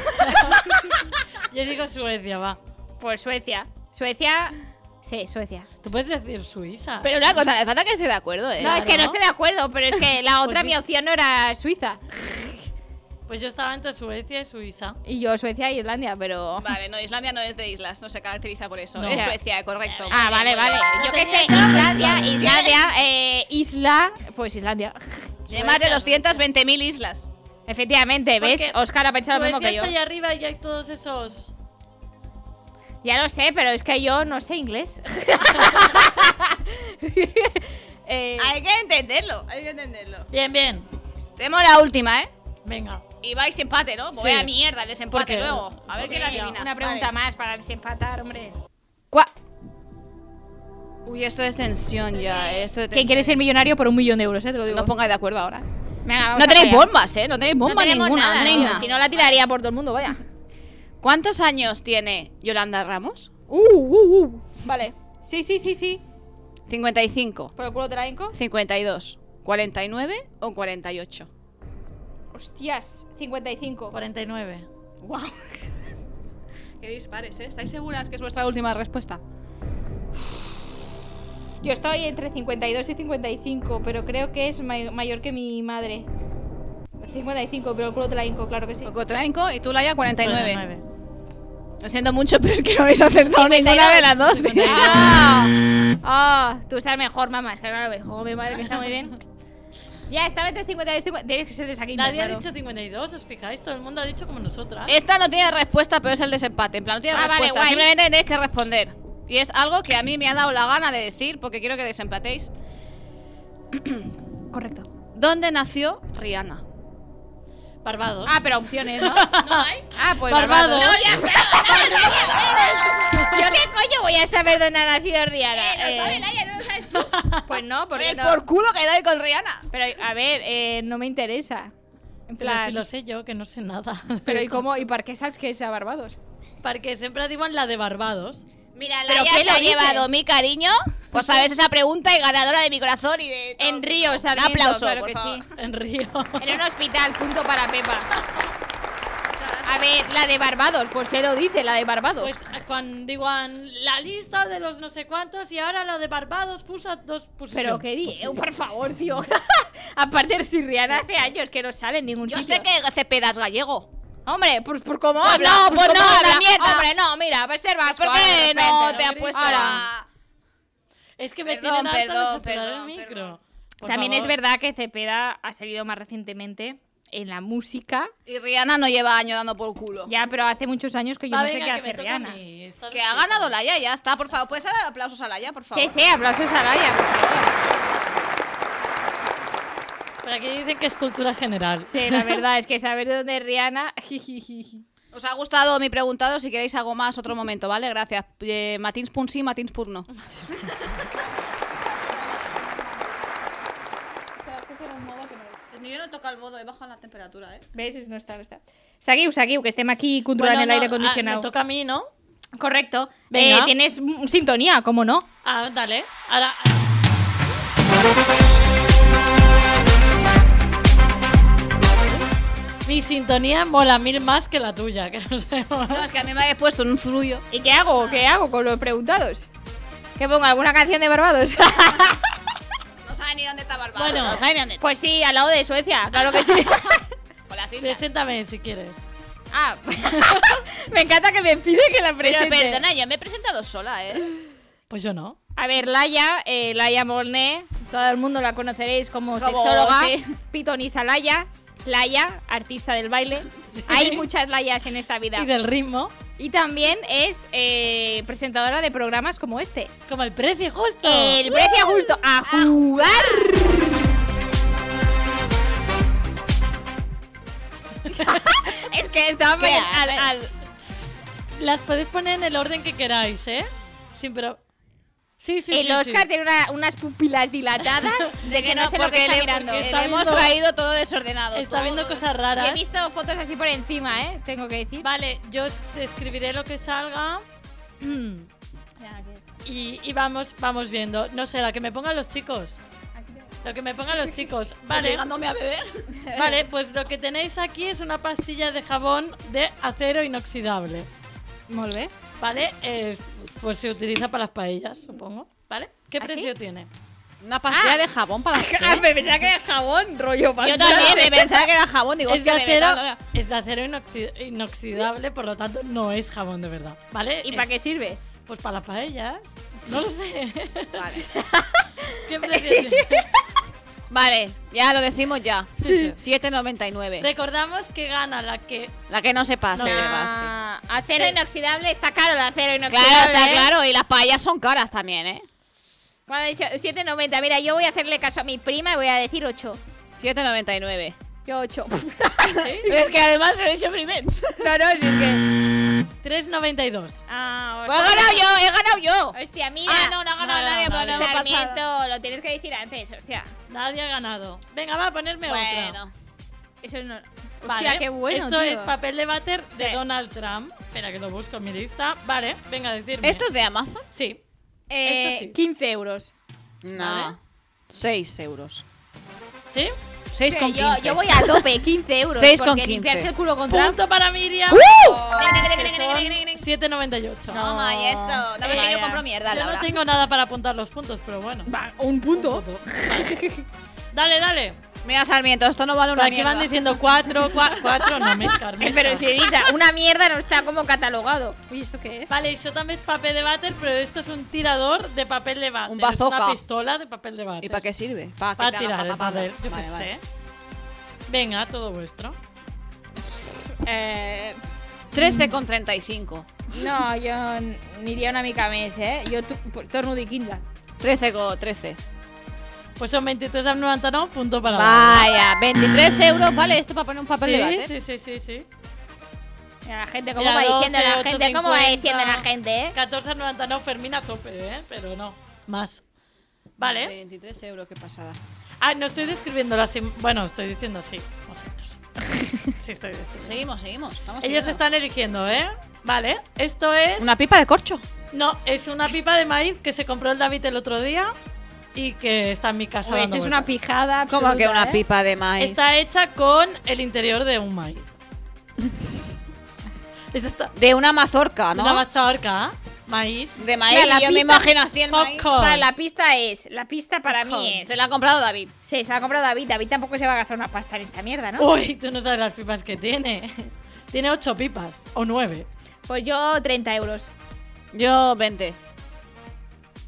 Yo digo Suecia, va.
Pues Suecia. Suecia. Sí, Suecia.
Tú puedes decir Suiza.
Pero una cosa, le falta que esté de acuerdo, ¿eh?
No, es que no estoy de acuerdo, pero es que la otra
Pues sí.
mi opción no era Suiza.
Pues yo estaba entre Suecia y Suiza.
Y yo Suecia e Irlanda, pero.
Vale, no, Islandia no es de islas, no se caracteriza por eso.
No.
Es
Ya.
Suecia, correcto.
Ah, vale, vale. Yo qué sé,
tenía
Islandia, Islandia, eh, isla. Pues Islandia.
De más de 220.000 islas.
Efectivamente, ¿ves?
Porque
Oscar ha pensado lo mismo
Suecia
que yo.
está ahí arriba y hay todos esos...
Ya lo sé, pero es que yo no sé inglés. Eh,
Hay que entenderlo, hay que entenderlo.
Bien, bien.
Tenemos la última, ¿eh?
Venga.
Y vais empate, ¿no? Voy
Sí.
a mierda, el desempate
Porque-
luego. A ver
sí,
quién la adivina.
Una pregunta
Vale.
más para desempatar, hombre.
Uy, esto es tensión ya. Esto de
¿Quién
tensión.
quiere ser millonario por un millón de euros, eh? Te lo digo.
No os pongáis de acuerdo ahora.
Venga, vamos
No
a
tenéis
fallar.
bombas, ¿eh? No tenéis bomba
tenemos
ninguna.
nada,
no tenéis
tío.
nada.
Si no la tiraría por todo el mundo, vaya.
¿Cuántos años tiene Yolanda Ramos?
Uh, uh, uh.
Vale.
Sí, sí, sí, sí.
55,
¿Por el culo te la hinco?
52, 49 o 48.
Hostias, 55.
49.
¡Wow! Qué dispares, ¿eh? ¿Estáis seguras que es vuestra última respuesta?
Yo estoy entre 52 y 55, pero creo que es may- mayor que mi madre. 55, pero el culo te la hinco, claro que sí.
Cocotenco y tú, Laia, 49.
49.
Lo siento mucho, pero es que no habéis acertado ninguna de las dos.
¿eh?
¡Ah! ah, tú estás mejor, mamá. Es que claro, juego mi madre que está muy bien. Ya, estaba entre 52 y 50. Tienes que ser de esa quinta,
Nadie ha
claro.
dicho 52, ¿os fijáis? Todo el mundo ha dicho como nosotras.
Esta no tiene respuesta, pero es el desempate. En plan, no tiene
Ah, vale,
respuesta.
guay.
Simplemente tenéis que responder. Y es algo que a mí me ha dado la gana de decir porque quiero que desempatéis.
Correcto.
¿Dónde nació Rihanna?
Barbados.
Ah, pero opciones, ¿no? ¿No hay? Ah, pues
Barbados.
Barbados. No, ya está. ¿Yo qué coño voy a saber dónde ha nacido Rihanna? Eh, lo sabe Laia, no lo sabes tú. Pues no, porque no.
culo que doy con Rihanna!
Pero, a ver, eh, no me interesa. En
Pero
plan...
si lo sé yo, que no sé nada.
Pero ¿y cómo? ¿Y por qué sabes que es a Barbados?
Porque siempre diuen la de Barbados.
Mira,
¿Pero
la ya
quién
se
lo
ha
dice?
llevado mi cariño. Pues sabes esa pregunta y ganadora de mi corazón y de. todo.
En Río,
Un
Sarmiento,
aplauso,
claro
por
que
favor.
sí.
En Río.
En un hospital, punto para Pepa. A ver, la de Barbados, pues ¿qué lo dice la de Barbados?
Pues cuando digan la lista de los no sé cuántos y ahora la de Barbados puso dos posiciones.
pero qué di, eh, por favor, tío. Aparte, si Rihanna hace años que no sale en ningún
Yo
sitio.
sé que Cepeda es gallego.
Hombre, pues por cómo
Pues
habla.
no,
pues
pues
cómo
no,
habla.
la mierda.
Hombre, no, mira, va a ser vasco.
¿Por
ahora de
qué
repente,
no te ha
Ahora.
puesto a-
Es que me
Perdón,
tienen harta de
perdón,
saturar
perdón,
el micro. Por
También es
favor.
verdad que Cepeda ha salido más recientemente en la música.
Y Rihanna no lleva años dando por culo.
Ya, pero hace muchos años que yo
Va,
no sé
venga,
qué
que me
hace
toca a
Rihanna.
mí. Está
Que
bien.
ha ganado Laia, ya está, por favor. ¿Puedes dar aplausos a Laia, por favor?
Sí, sí, aplausos a Laia, por favor.
Pero aquí dicen que es cultura general.
Sí, la verdad es que saber de dónde es Rihanna.
Os ha gustado mi preguntado, si queréis hago más otro momento, ¿vale? Gracias. Eh, matins punt sí, matins punt no. Yo no toca el modo, he bajado la temperatura, ¿eh?
¿Ves? Es- No está, no está. Seguiu, seguiu, que estem aquí controlant
Bueno,
el aire
no, ah,
acondicionado.
me toca a mí, ¿no?
Correcto.
Venga.
Eh, tienes mm, sintonía, ¿cómo no?
Ah, dale. Ahora. Mi sintonía mola mil más que la tuya, que no sé.
No, es que a mí me habéis puesto en un frullo.
¿Y qué hago? ¿Qué hago con los preguntados? ¿Que pongo alguna canción de Barbados?
No sabe ni dónde está Barbados.
Bueno.
no sabe ni dónde está.
pues sí, al lado de Suecia, claro que sí.
Con las islas.
Preséntame si quieres.
ah, me encanta que me pide que la
Pero
presente.
perdona, yo me he presentado sola, ¿eh?
Pues yo no.
A ver, Laia, eh, Laia Molné, todo el mundo la conoceréis como,
Como,
sexóloga,
sí.
pitonisa Laia, Laia, artista del baile. Hay muchas Laias en esta vida.
Y del ritmo,
Y también es eh, presentadora de programas como este.
como el precio justo.
Oh.
El precio a gusto a jugar. es que estaba
¿Qué
al, al-
Las podéis poner en el orden que queráis, ¿eh? Sí, pero. Sí, sí,
el
sí. sí.
Oscar tiene una- unas pupilas dilatadas de que no, sé lo que
porque
está
le,
mirando.
porque
Está
le hemos
viendo-
traído todo desordenado.
Está
todo
viendo cosas
Y He
raras.
visto fotos así por encima, ¿eh? Tengo que decir.
Vale, yo os escribiré lo que salga. Mm. Y, y vamos, vamos viendo. No sé, la que me pongan los chicos. Lo que me pongan los chicos. Vale,
Obligándome a beber.
vale, pues lo que tenéis aquí es una pastilla de jabón de acero inoxidable.
Molt bé.
Vale, Eh, pues se utiliza para las paellas, supongo. ¿Vale? ¿Qué precio tiene?
Una pastilla de jabón para
Ah, me pensaba que era jabón, rollo
Yo también me pensaba que era jabón, digo,
Es de,
hostia, de verdad,
acero,
no me-
es de acero inoxi- inoxidable, por lo tanto no es jabón de verdad. ¿Vale?
¿Y para
Es-
qué sirve?
Pues para las paellas. No lo sé.
Vale.
¿Qué precio tiene?
Vale, ya lo decimos ya.
Sí,
7,99.
Recordamos que gana la que.
La que no se pase.
No se
de base.
Ah, acero inoxidable, está caro el acero inoxidable.
Claro, está
¿eh?
claro. Y las paellas son caras también, ¿eh?
Cuando he dicho 7,90, mira, yo voy a hacerle caso a mi prima y voy a decir 8.
7,99.
Yo 8.
Es que además lo he hecho primero.
no, no, si es que.
3,92.
Ah,
Pues he ganado yo, he ganado yo.
Hostia, mira.
Ah, no, no ha ganado
No, no,
nadie,
no,
pero no
no.
hemos pasado.
Sarmiento, lo tienes que decir antes, hostia.
Nadie ha ganado. Venga, va a ponerme otra.
Bueno.
Eso no.
Vale.
Hostia, qué bueno.
Esto
tío.
es papel de váter de
Sí.
Donald Trump. Espera que lo busco en mi lista. Vale, venga, decirme.
¿Esto es de Amazon?
Sí.
Eh,
esto sí.
15 euros.
No. 6 euros.
¿Sí?
6
Sí,
con
yo,
15.
yo voy a tope, 15 euros.
Seis con
porque
15.
limpiarse el culo con trampa.
Punto para Miriam.
Que son-
7.98.
No, ma, y eso. No, porque yo compro mierda,
Yo
Laura.
no tengo nada para apuntar los puntos, pero bueno.
Va, un punto.
Dale, dale.
Mira, Sarmiento, esto no vale
Por
una
aquí van
mierda.
diciendo 4, 4, no me
Eh,
escarmes.
Pero si edita, una mierda no está como catalogado. Uy, ¿esto qué es?
Vale, això també és paper de vàter, però esto és un tirador de paper de vàter.
Un
És
bazooka.
una pistola de paper de vàter.
¿Y para qué sirve? Para
Para tirar el papel, yo qué sé. Venga, todo vuestro.
Eh,
13 con 35.
no, jo n- aniria una mica més, eh? Jo tu- torno a dir 15.
13 con 13.
Pues son 23,99, punto para la
Vaya, 23 euros vale esto para poner un papel
sí,
de váter.
sí, sí, sí, sí.
Mira, la gente, ¿cómo
Mira,
va diciendo
12,
la gente? ¿Cómo va
8,50.
diciendo la gente, eh?
14,99 Fermín a tope, ¿eh? Pero no, más. Vale.
23 euros, qué pasada.
Ah, no estoy describiendo las... im- Bueno, estoy diciendo sí, más o menos. sí, estoy diciendo.
Seguimos, seguimos. Estamos
Ellos
siguiendo.
están eligiendo, ¿eh? Vale, esto es...
Una pipa de corcho.
No, es una pipa de maíz que se compró el David el otro día y que está en mi casa.
Uy, Pues esto
dando
es una
vueltas.
pijada.
Como que
absoluta,
una
eh?
pipa de maíz.
Está hecha con el interior de un maíz. es esta,
De una mazorca, ¿no?
Una mazorca, maíz.
De maíz.
Mira, la
yo me
pista-
imagino así el maíz.
Popcorn.
O sea, la pista es, la pista para mí
Popcorn.
es.
Se la ha comprado David.
Sí, se la ha comprado David. David tampoco se va a gastar una pasta en esta mierda, ¿no?
Uy, tú no sabes las pipas que tiene. tiene ocho pipas o nueve.
Pues yo 30 euros.
Yo 20.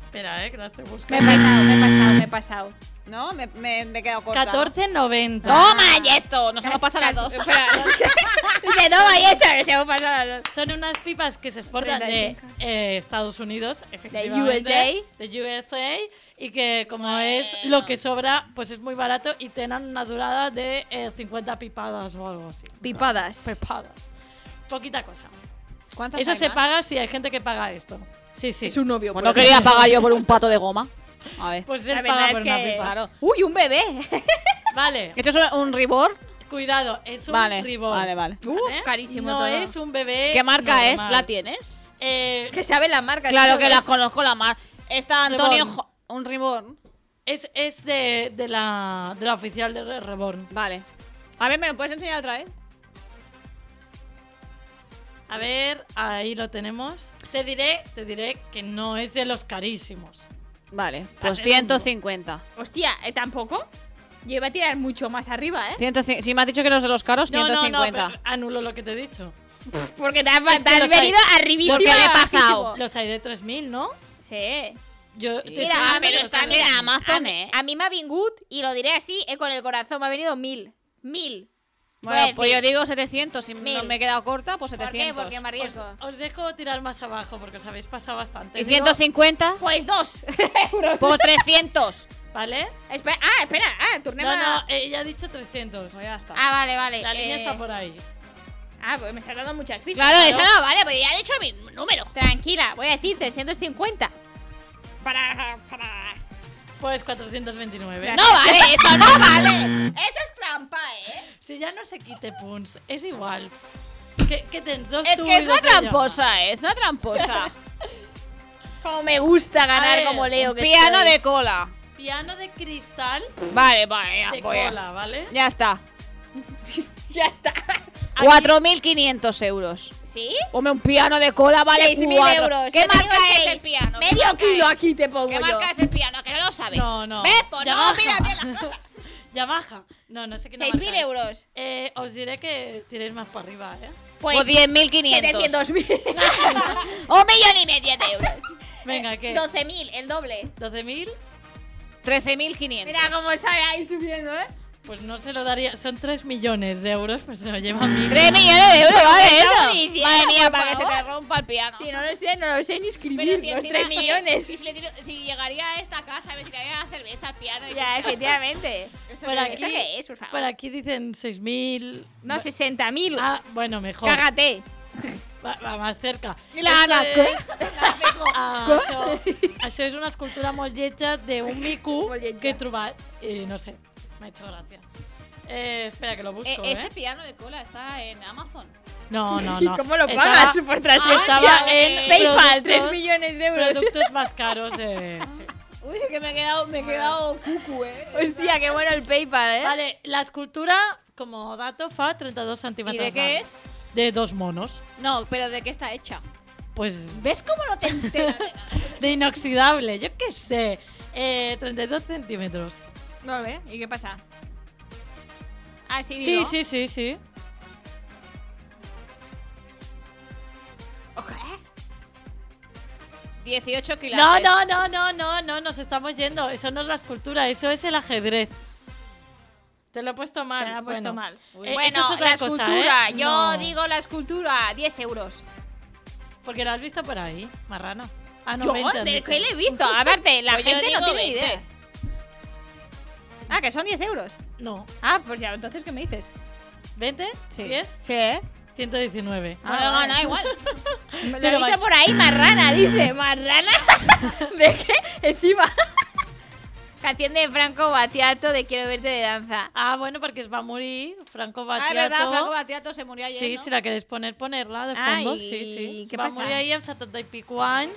Espera, eh, que las estoy
Me he
buscando.
pasado, me he pasado, me he pasado.
No, me, me, me he quedado corta.
14.90.
Ah.
Toma, y esto. Nos hemos pasado las
Casi-
dos.
Espera. Dice, no, vaya eso, nos hemos pasado las dos.
Son unas pipas que se exportan de
35.
eh, Estados Unidos, efectivamente.
USA.
De USA. Y que como es lo que sobra, pues es muy barato y tienen una durada de eh, 50 pipadas o algo así.
Pipadas.
Pipadas. Poquita cosa.
¿Cuántas
Eso
hay
se
más?
paga si hay gente que paga esto. Sí, sí.
Es un novio.
Pues no quería pagar yo por un pato de goma. A ver.
Pues
La
él
verdad
paga
es
por una
que-
pipa.
Claro.
Uy, un bebé.
Vale,
¿Esto es un- un ribor?
cuidado, es un Uh.
Vale,
ribón.
vale, vale.
¿vale?
carísimo
No
todo.
es un bebé.
¿Qué marca es?
normal.
¿La tienes?
Eh,
que sabe la marca.
Claro
tío,
que la
es-
conozco la marca. Está Antonio...
Reborn.
Jo- ¿Un ribor?
es es de, de, la, de la oficial de Re- Reborn.
Vale. A ver, ¿me lo puedes enseñar otra vez?
A ver, ahí lo tenemos. Te diré, te diré que no es de los carísimos.
Vale.
Para
Pues
ser un
150.
Hostia, ¿eh, ¿tampoco? Yo iba a tirar mucho más arriba, ¿eh?
150. Si me has dicho que los de los caros,
No, no,
150.
no, pero anulo lo que te he dicho.
Porque te has,
Es que
te has
los hay.
venido arribísimo.
Porque le he
bajísimo.
pasado.
Los hay de 3.000, ¿no?
Sí.
Yo
Sí.
te
Mira,
estoy
ah,
dando
pero
los
está
caros.
mira,
Amazon,
a, mí-
eh.
a mí me ha vingut y lo diré así, eh, con el corazón. Me ha venido mil. Mil. Voy a
Bueno, pues
decir,
yo digo 700. Si no
Mil.
me he quedado corta, pues
¿Por qué?
700.
Porque me arriesgo.
Os, os dejo tirar más abajo porque os habéis pasado bastante.
¿Y 150?
Pues dos euros.
Pues 300.
¿Vale?
Espera- ah, espera, ah, turnemos.
No, no, ella ha dicho 300.
ya está.
Ah, vale, vale.
La línea
eh,
está por ahí.
Ah, pues me estás dando muchas pistas.
claro,
pero-
eso no vale, pero ya he dicho mi número.
Tranquila, voy a decir 350. Para. para...
Pues 429.
No vale, eso no vale.
Eso es trampa, ¿eh?
Si ya no se quite punts, és igual. Què, què tens? Dos
Es
tu
que
i
es una
dos ella.
tramposa, eh, es una tramposa.
Como me gusta
A
ganar
ver,
como Leo
Un
que
Piano
soy.
de cola.
Piano de cristal
Vale, vale, ya
de
voy a-
cola, ¿vale?
Ya está.
Ya está.
4.500 euros.
¿Sí?
Hombre, un piano de cola vale
6.000
cuatro.
euros.
¿Qué
Te digo
marca
que
es
es
el piano? ¿Qué
Medio
marca
kilo
es?
aquí te pongo
¿Qué
yo.
marca es el piano? Que no lo sabes.
No, no.
Ve, pues no,
Yamaha.
mira bien las cosas.
Yamaha. No, no sé quina marca
6.000
és.
euros.
Eh, os diré que tiréis más para arriba, ¿eh?
Pues.
Pues 10.500.
700.000.
Un millón y medio de euros. Eh,
Venga, ¿qué?
12.000, el doble.
12.000.
13.500.
Mira cómo sale ahí subiendo, ¿eh?
Pues no se lo daría. Son 3 millones de euros, pues se lo lleva mil.
3 millones de euros, vale
estamos
eso.
diciendo,
Madre mía,
por
para que se
favor?
te rompa el piano.
Si no lo sé, no lo sé ni escribir. los
encima, eh,
3 millones.
Si, le tiro- si llegaría a esta casa, me tiraría la cerveza al piano. Y
ya, efectivamente.
¿Esto
Por
qué
aquí,
¿Esto qué es, por favor?
por aquí dicen 6.000.
No, 60.000.
Ah, bueno, mejor.
Cágate.
Va, va más cerca.
I la Anna, què? Eh,
Ah, això, això és una escultura molt lletja d'un mico
Molt lletja.
que he trobat i no sé, m'ha hecho gracia. Eh, espera, que lo busco,
Eh,
eh.
este piano de cola está en Amazon.
No, no, no.
¿Y cómo lo
Estaba-
pagas? Por transferencia.
estaba en
PayPal,
productos-
3 millones de euros.
Productos más caros de... Sí.
Uy, que me he quedado, me he quedado cucu, eh.
Hostia, qué bueno el PayPal, ¿eh?
Vale, la escultura, como dato, fa 32
¿Y
centímetros.
de qué es?
larga. De dos monos.
No, pero ¿de qué está hecha?
Pues
¿Ves cómo no te enteras? de nada?
de inoxidable, yo qué sé. Eh, 32 centímetros.
Molt bé, i què passa? Ah, sí,
Sí,
digo.
sí, sí, sí.
Ok.
18 kilos.
No, no, no, no, no, no, nos estamos yendo. Eso no es la escultura, eso es el ajedrez. Te lo he puesto mal.
Te Ah, la ha puesto
bueno.
mal.
Eh,
bueno,
eso es otra
la
cosa,
escultura.
¿eh?
Yo
No.
digo la escultura, 10 euros.
Porque lo has visto por ahí, marrano. Ah, no,
Yo,
20 has
¿de
dicho.
qué le he visto? Aparte, la
Pues yo
gente no
digo
tiene ni
20.
idea. Ah, que son 10 euros.
No.
Ah, pues ya, entonces, ¿qué me dices?
¿20?
Sí.
10,
Sí, ¿eh?
119.
Bueno, gana igual.
Me lo
Pero
dice
vas-
por ahí, marrana, dice, marrana. ¿De qué? Encima. Canción de Franco Batiato de Quiero verte de danza.
Ah, bueno, porque va a morir Franco
Ah,
Battiato.
es verdad, Franco Batiato se murió ayer,
Sí,
¿no?
si la queréis poner, ponerla de
Ah,
fondo.
¿y
sí, sí.
qué
Va
pasa?
a morir ahí en 70 y pico años,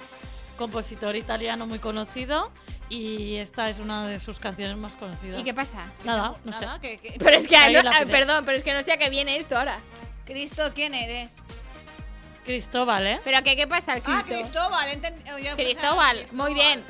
compositor italiano muy conocido. Y esta es una de sus canciones más conocidas.
¿Y qué pasa?
Nada, no sé.
Nada, que- que-
Pero es que, ah,
Ahí
no-
la
ah,
pide.
perdón, pero es que no sé a qué viene esto ahora.
Cristo, ¿quién eres?
Cristóbal, ¿eh?
¿pero a qué, qué pasa al
Ah,
Cristo?
Cristóbal. enten- oh, ya pensaba-
Cristóbal, muy bien.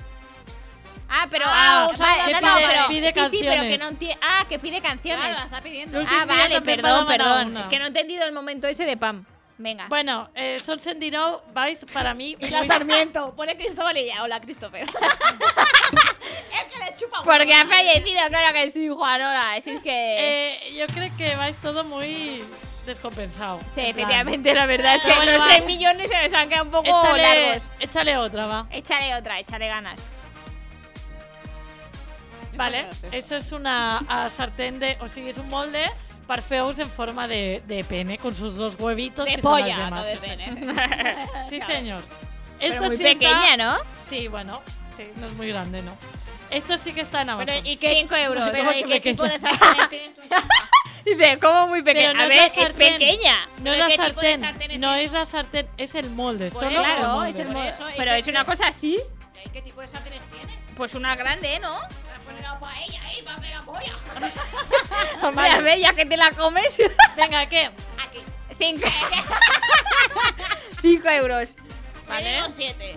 Ah, pero.
Ah,
Ah,
un
vale,
saludo,
no, no,
pide-
pero.
pide
sí, sí, pero que
canciones.
no entiende. Ah, que pide canciones.
Claro, la está pidiendo.
Los
ah,
Ultimate
vale,
también
perdón,
mandaban a
perdón.
una.
Es que no he entendido el momento ese de Pam. Venga.
Bueno, eh, Son Sendino vais para mí.
Y la
muy-
Sarmiento. Pone Cristóbal y ya. Hola, Christopher. es que le chupa un
Porque ha fallecido, claro que sí, Juanola. Si es que.
Eh, yo creo que vais todo muy descompensado.
sí,
en plan,
efectivamente, la verdad es que
Pero bueno,
los
va.
3 millones se nos han quedado un poco
Échale,
largos.
échale otra, va.
Échale otra, échale ganas.
Vale, eso es una ah, sartén de. O sí, es un molde. Parfeus en forma de, de pene con sus dos huevitos.
De
que son las
polla, no
yemas,
de
sí,
pene.
Sí,
Claro.
señor.
Pero muy
sí
pequeña,
está-
¿no?
Sí, bueno, sí, no es muy grande, ¿no? Esto sí que está en Amazon.
Pero, ¿y qué,
5 euros.
pero, ¿y
que
qué tipo
pequeña.
de sartenes tienes tú?
Dice, ¿cómo muy pequeña?
Pero no
a
es
ver,
la
es
sartén.
pequeña.
no es
¿pero
la
qué tipo de
sartén,
sartén es
no
esa?
es la sartén, es el molde,
Por
solo
eso,
el
Claro,
molde.
es el
Por
modo.
eso,
Pero
es
es una
que-
cosa así.
¿Y ¿Qué tipo de sartenes tienes?
Pues una grande, ¿no?
Para poner la paella ahí, para hacer la polla.
Hombre, a ver, ya que te la comes.
Venga, ¿qué?
Aquí.
Cinco. Cinco euros.
Vale.
Vale.
Yo digo siete.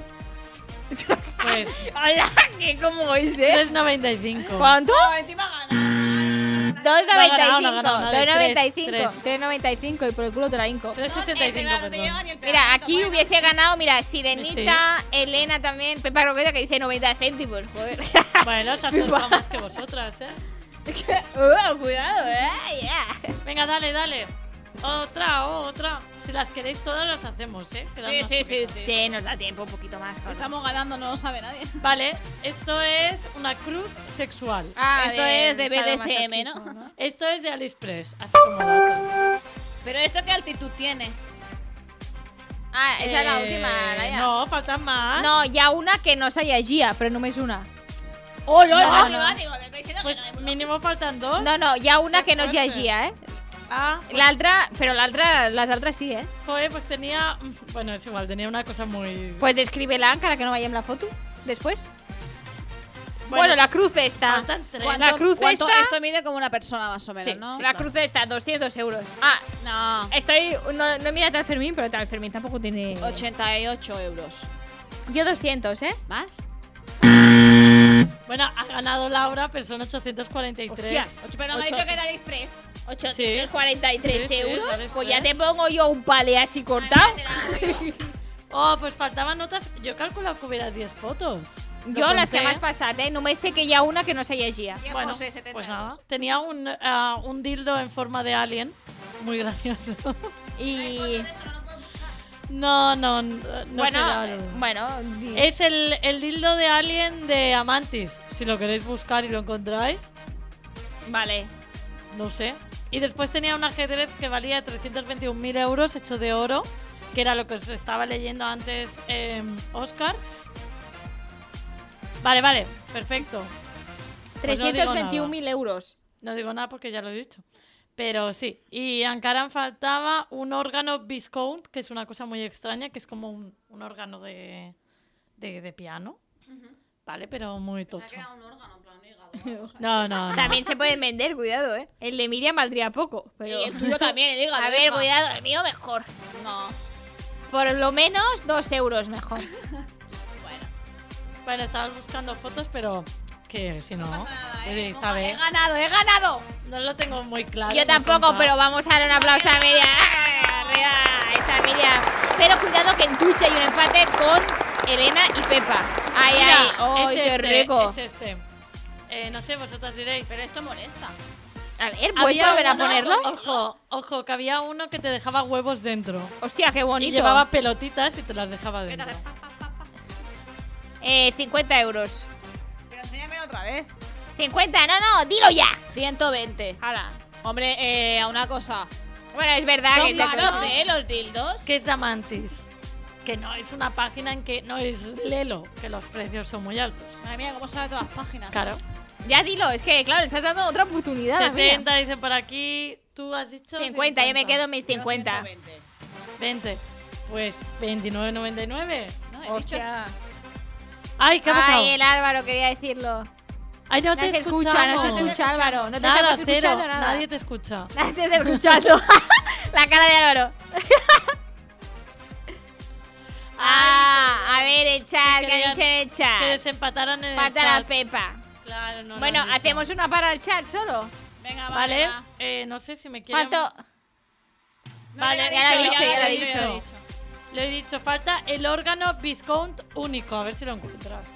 Pues
Hola, ¿qué cómo es, eh?
3.95.
¿Cuánto?
No, encima gana.
ganado, no ha
2,95.
ganado nada, tres,
2,95.
tres.
3,95 y por el culo te la hinco.
Ese
3.65,
no te lleva
perdón.
ni
Mira,
el pedacito,
aquí
bueno.
hubiese ganado, mira, Sirenita, Elena también, Pepa Roqueta que dice 90 céntimos, joder.
Bueno, se acerca más que vosotras, ¿eh?
Uh, cuidado, eh. Yeah.
Venga, dale, dale. Otra, otra. Si las queréis todas, las hacemos, ¿eh? Quedan
Sí,
más
sí, sí,
poquitas.
sí.
Sí, nos da tiempo un poquito más.
Si
cabrón.
Estamos ganando, no lo sabe nadie.
Vale, esto es una cruz sexual.
Ah,
Esto
del
es de BDSM, ¿no?
sadomasoquismo,
Esto es de AliExpress, así como dato.
Pero esto qué altitud tiene.
Ah, esa es la
Eh,
última, Laia.
No, faltan más.
No, hi ha una que no se llegia, però només una.
¡Oh, no,
no,
no,
no.
no! Te estoy diciendo
Pues
que no hay problema.
mínimo faltan dos.
No, no, hi ha una que no es
Qué fuerte.
llegia, eh?
Ah, pues,
L'altra, però l'altra, les altres sí, eh?
joder, pues tenía. Bueno, es igual, tenía una cosa muy.
Pues describe-la encara que no veiem la foto, després. Bueno,
Bueno.
la cruz esta.
faltan tres.
¿Cuánto-
la cruz
cuánto-
esta-
Esto mide como una persona más o menos,
Sí,
¿no?
sí.
La cruz esta, 202 euros. Ah,
No.
estoy, no, no he mirado al Fermín, pero tal Fermín tampoco tiene...
88 euros.
Yo 200, ¿eh?
¿Más?
Bueno, ha ganado Laura, pero son 843.
Hostia.
Ocho- Pero me ha
Ocho-
dicho que era Express.
843
Sí, sí,
euros.
¿sabes
pues
cuál
ya
es?
te pongo yo un pale así cortado.
Oh, pues faltaban notas. Yo he calculado que hubiera 10 fotos. Lo
Yo las que
conté.
más passat, eh? Només sé que hi ha una que no se ¿eh? llegia.
Bueno, pues nada. Tenía un, ah, un dildo en forma de alien. Muy gracioso.
Y...
no, no, no no
bueno,
será
eh,
algo.
bueno, di-
Es el, el dildo de alien de Amantis. Si lo queréis buscar y lo encontráis,
vale. Pues
no sé. Y después tenía un ajedrez que valía 321.000 euros hecho de oro, que era lo que os estaba leyendo antes eh, Oscar. Vale, vale, perfecto. Pues no digo nada.
321.000 euros.
No digo nada porque ya lo he dicho. Pero sí. Y a Ankaran faltaba un órgano Viscount, que es una cosa muy extraña, que es como un, un órgano de, de, de piano. Vale, pero muy tocho.
un órgano, en plan hígado.
No, no, no.
También se pueden vender, cuidado, ¿eh? El de Miriam valdría poco. Pero...
Y el tuyo
eh,
también, el hígado.
A ver,
hija.
cuidado, el mío mejor.
No.
Por lo menos dos euros mejor.
Bueno, estabas buscando fotos, pero que si no,
Nada,
Oye,
eh,
esta
ojo, He
vez
ganado, he ganado.
no lo tengo muy claro.
Yo
no
tampoco,
he
pero
pensado.
vamos a dar un aplauso a Miriam. Arriba, esa Miriam. Pero cuidado que en Twitch hay un empate con Elena y Pepa. Ay,
Mira,
ay, ay,
es
qué
este,
rico.
Es este. Eh, no sé, vosotras diréis.
Pero esto molesta.
A ver, ¿puedes volver a
uno-
ponerlo?
Ojo, ojo, que había uno que te dejaba huevos dentro.
Hostia, qué
Y
bonito.
llevaba pelotitas y te las dejaba dentro.
Eh, 50 euros.
Pero enséñame otra vez.
50, no, no, dilo ya.
120.
Hala.
Hombre, eh, a una cosa.
Bueno, es verdad
Son
que
caros, ¿eh? Los dildos.
¿Qué es Amantis? Que no es una página en que no es Lelo, que los precios son muy altos.
Madre mía, cómo sabe todas las páginas.
Claro.
Ya dilo, es que claro, le estás dando otra oportunidad. a Miriam.
70 dice por aquí, tú has dicho
50, yo me quedo en mis 50.
120.
20. Pues 29.99.
No, he dicho
Hostia.
Ay, ¿qué ha pasado?
Ay, el Álvaro quería decirlo.
Ay, no,
No
te
se escucha, no
escuchamos.
se escucha, Álvaro. No te
Nada,
estamos
cero.
escuchando nada.
Nadie te escucha.
Nadie te está escuchando. La cara de Álvaro. ah, a ver, el chat, que
Querían
han dicho en el
Que
chat.
desempataran en
Falta
el
la
chat.
Pepa.
Claro, no lo
bueno,
han dicho.
hacemos una para el chat solo.
Venga,
Vale,
va.
eh, no sé si me quieren...
¿Cuánto?
No,
Vale,
ya lo he dicho, ya lo he
lo
dicho. Lo he dicho, falta el órgano Viscount único. A ver si lo encuentras.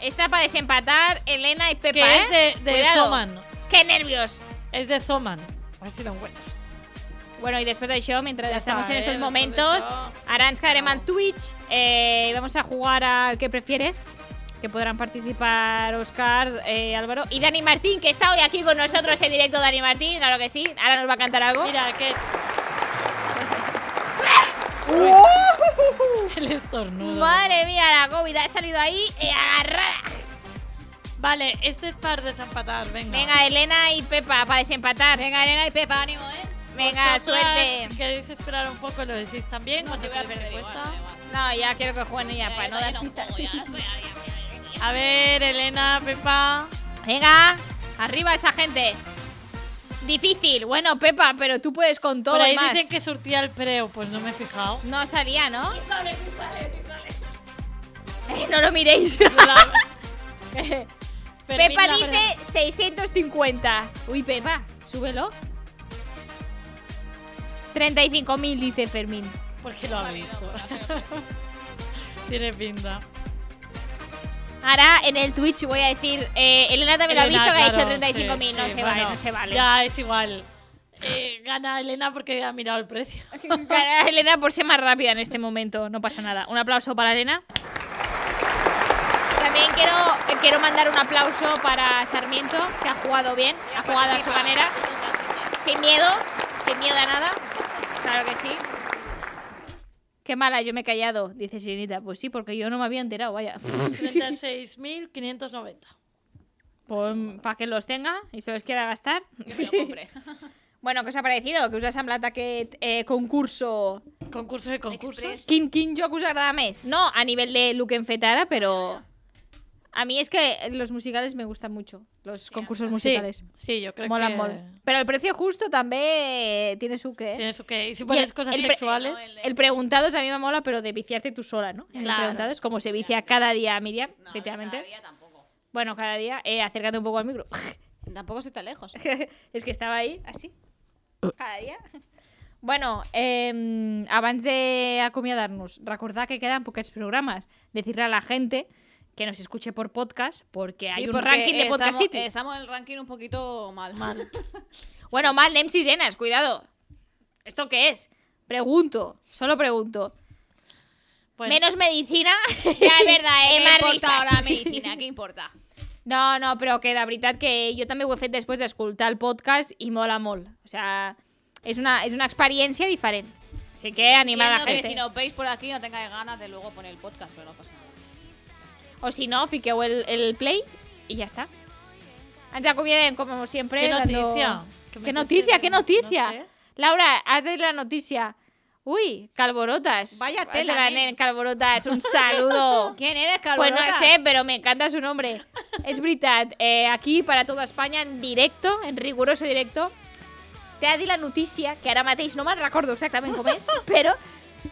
Esta para desempatar Elena y Pepa,
que
¿eh?
es de, de
Cuidado.
Zoman.
¡Qué nervios!
Es de Zoman. A ver si lo encuentras.
Bueno, y después del show, mientras
Ya está,
estamos en
¿eh?
estos
Después del
momentos,
show.
harán Skyrim en Twitch. eh, vamos a jugar al que prefieres, que podrán participar Oscar, eh, Álvaro y Dani Martín, que está hoy aquí con nosotros en directo. Dani Martín, claro que sí, ahora nos va a cantar algo.
Mira, que... el estornudo.
Madre mía, la COVID ha salido ahí eh, agarrada.
Vale, este es para desempatar, venga.
Venga, Elena y Pepa, para desempatar. Venga, Elena y Pepa,
Ánimo, eh.
Venga,
Vosotras,
suerte.
Si queréis esperar un poco, lo decís también.
No,
os
si voy a
hacéis
perder igual,
encuesta.
da igual.
No, ya quiero que jueguen ya,
Ya,
para
yo
no dar
también
pistas.
juego, ya,
A ver, Elena, Pepa.
Venga, arriba esa gente. Difícil. Bueno, Pepa, pero tú puedes con todo
Por ahí
y más.
dicen que surtía el preo, pues no me he fijado.
No salía, ¿no? Eh, no lo miréis. Pepa
Fermín Labra-
dice 650. Uy, Pepa, súbelo. 35.000 dice Fermín.
Porque lo ha visto. Tiene pinta.
Ahora en el Twitch voy a decir. eh, Elena también lo ha visto
Elena,
que
claro,
ha dicho 35.000.
sí,
no
sí,
se vale,
bueno,
no se vale.
Ya, es igual. Eh, gana Elena porque ha mirado el precio.
Cara, Elena por ser más rápida en este momento, no pasa nada. Un aplauso para Elena. También quiero, eh, quiero mandar un aplauso para Sarmiento, que ha jugado bien, ha jugado a su manera, sin miedo, sin miedo a nada. Claro que sí. Qué mala, yo me he callado, dice Sirenita. Pues sí, porque yo no me había enterado, vaya.
36.590.
Pues para que los tenga y se los quiera gastar.
Que me lo compre.
Bueno, ¿qué os ha parecido? Que us ha semblat aquest eh, concurso
Concurso de concursos.
Express.
Quin, quin joc us agrada més? No a nivel de lo que hem fet ara, pero... A mí es que los musicales me gustan mucho, los concursos musicales.
Sí, yo creo
Molan
que.
molt. Pero el precio justo también tiene su qué.
Tienes que. Y si
Y
pones
el-
cosas
el pre-
sexuales.
El preguntados a mí me mola, pero de viciarte tú sola, ¿no? El
Claro.
preguntados, como se vicia cada día Miriam,
No,
efectivamente.
cada día tampoco.
Bueno, cada día, eh, acércate un poco al micro.
Tampoco estoy tan lejos.
es que estaba ahí, así.
Uh.
Cada día. Bueno, eh, abans d'acomiadar-nos, recordar que quedan poquets programas. Decirle a la gente que nos escuche por podcast, porque hay un
porque
ranking de
estamos-
Podcast City.
Estamos en el ranking un poquito mal. Mal.
Bueno, mal, Nem Sisenas, cuidado. ¿Esto qué es? Pregunto, solo pregunto.
Bueno.
Menos medicina.
Ya es verdad,
i
eh.
més
¿Qué importa
risas.
ahora la medicina? ¿Qué importa?
No, no, però que de veritat que jo també ho he fet després d'escoltar el podcast i mola molt. O sea, és una, és una experiència diferent. Así que animar a la
Entiendo
gent.
que si nos veis por aquí no tengáis ganas de luego poner el podcast, pero no pasa nada.
O si no, fiqueu el, el play i ja està. Ens acomiadem, com sempre.
Qué
dando-
noticia. Que me
Qué
estás
noticia, qué
diciendo, no
noticia.
sé.
Laura, haz de la noticia. Uy, Calborotas.
Vaya
Te
tela,
dan
eh.
en Calborotas, un saludo.
¿Quién eres,
Pues
Calvorotas?
no sé, però m'encanta su nombre. Es veritat, eh, aquí para toda España en directo, en riguroso directo, te ha dit la notícia, que ara mateix no me'n recordo exactament com és, però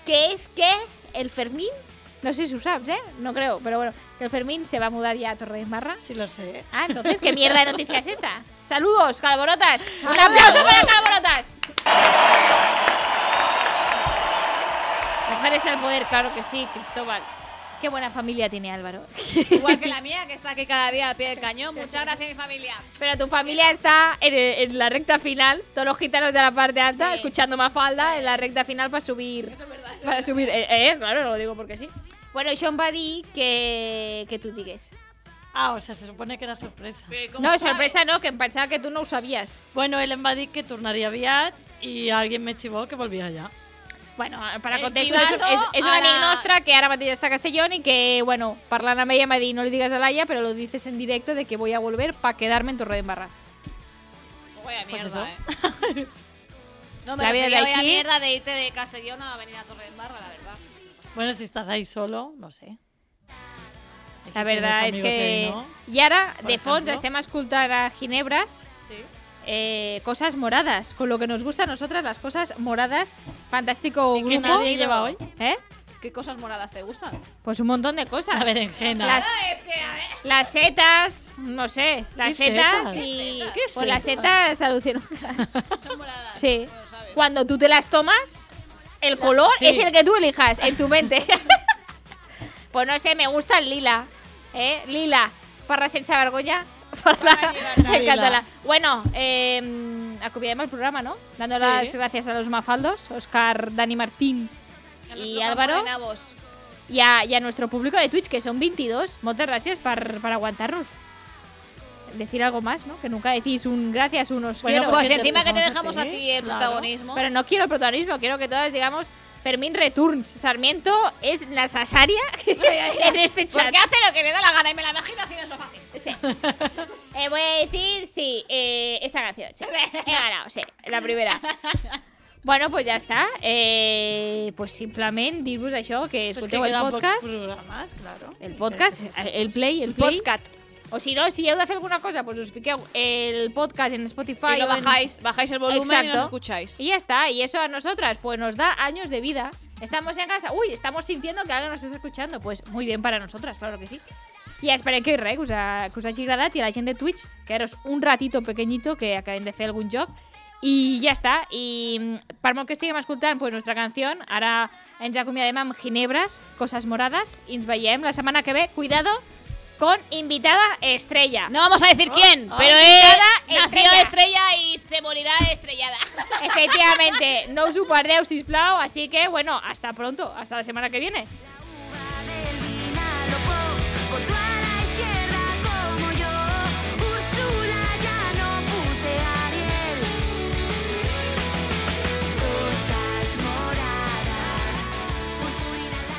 que és que el Fermín, no sé si ho saps, eh? No creo, però bueno, que el Fermín se va a mudar ya a Torredesmarra.
Sí lo sé. ¿eh?
Ah, entonces, ¿qué mierda de noticia es esta? ¡Saludos, Calborotas! ¡Un aplauso para Calborotas! Mujeres al poder, claro que sí, Cristóbal. Qué buena familia tiene Álvaro.
Igual que la mía, que está aquí cada día al pie del cañón. Muchas gracias, mi familia.
Pero tu familia está en, en la recta final, todos los gitanos de la parte alta,
Sí.
escuchando Mafalda en la recta final para subir. para subir. Eh, eh, claro, no lo digo porque sí. Bueno, Sean va dir que, que tú digas.
Ah, o sea, se supone que era sorpresa.
No, sorpresa no, que pensaba que tú no lo sabías.
Bueno, él em va dir que tornaria aviat i alguien me xivó que volvia allà.
Bueno, ah, para
Eh,
El
contexto, és,
Chivato
és, és un
a la-
amic nostre que ara mateix està a Castellón i que, bueno, parlant amb ella m'ha dit no li digues a Laia, però lo dices en directo de que voy a volver para quedarme en Torredembarra.
Vaya mierda,
Pues eso.
eh. No, me
La vida
refería
es
a la
así.
mierda de irte de Castellón a venir a Torre de Embarra, la verdad.
Bueno, si estás ahí solo, no sé.
La verdad
Tienes
és que...
amigos ahí, ¿no?
I ara,
Por
de fons,
ejemplo.
estem escoltant a Ginebras
Sí.
eh, Cosas Moradas, con lo que nos gusta a nosotras las cosas moradas. Fantástico
¿Y qué
grupo.
nadie lleva hoy?
¿Eh?
¿Qué cosas moradas te gustan?
Pues un montón de cosas.
La berenjena. Ah,
Las, las setas, no sé, las
¿Qué
setas
setas?
y...
¿Qué
Pues las
setas?
setas alucinógenas.
Son moradas.
Sí.
no lo sabes.
Cuando tú te las tomas, el color
sí.
es el que tú elijas en tu mente. pues no sé, me gusta el lila. ¿Eh? Lila. Parra sense vergonya. Parra en
lila.
català. Bueno, eh, acompañamos el programa, ¿no? Dando
Sí.
las gracias a los mafaldos, Oscar, Dani Martín
A los
y
locos
Álvaro.
morenavos.
Y a, y a nuestro público de Twitch, que son 22. Muchas gracias por, aguantarnos. Decir algo más, ¿no? Que nunca decís un gracias, unos
Bueno,
quiero.
porque
Pues
te
encima que te
dejamos
dejamos
a
a
ti,
ti el
claro.
protagonismo.
Pero no quiero el protagonismo, quiero que todas digamos Fermín Returns. Sarmiento es la sasaria en este chat.
Porque hace lo que le da la gana y me la imagino así en el sofá. Sí.
Sí. Eh, voy a decir, sí, eh, esta canción. sí. He ganado, sí, la primera. Bueno, pues ya está. Eh, pues simplemente dir-vos això, que
Pues
escolteu el
quedan pocs
podcast.
programes, claro.
El podcast, el play, el play.
Postcat.
O si no, si heu de fer alguna cosa, pues us fiqueu el podcast en Spotify.
Y lo
o en-
bajáis, bajáis el volumen y
Exacto.
nos escucháis.
Y Pues ya está, y eso a nosotras, pues nos da años de vida. Estamos en casa, uy, estamos sintiendo que alguien nos está escuchando. Pues muy bien para nosotras, claro que sí. I esperem que, res, que, us ha, que us hagi agradat i a la gent de Twitch, que ara és un ratito pequeñito que acabem de fer algun joc i ja està, i mm, per molt que estiguem escoltant pues, nostra canció, ara ens acomiadem amb Ginebres, Coses Morades, i ens veiem la setmana que ve, cuidado, con invitada estrella.
No vamos a decir quién, pero
Estrella,
es nació
estrella.
Oh, estrella y se morirá estrellada.
Efectivamente, no os upardeu, sisplau, así que, bueno, hasta pronto, hasta la semana que viene.
uva del vinalopó, votó a la izquierda como yo. Úrsula ya no putea a Ariel. Cosas moradas, purpurina en la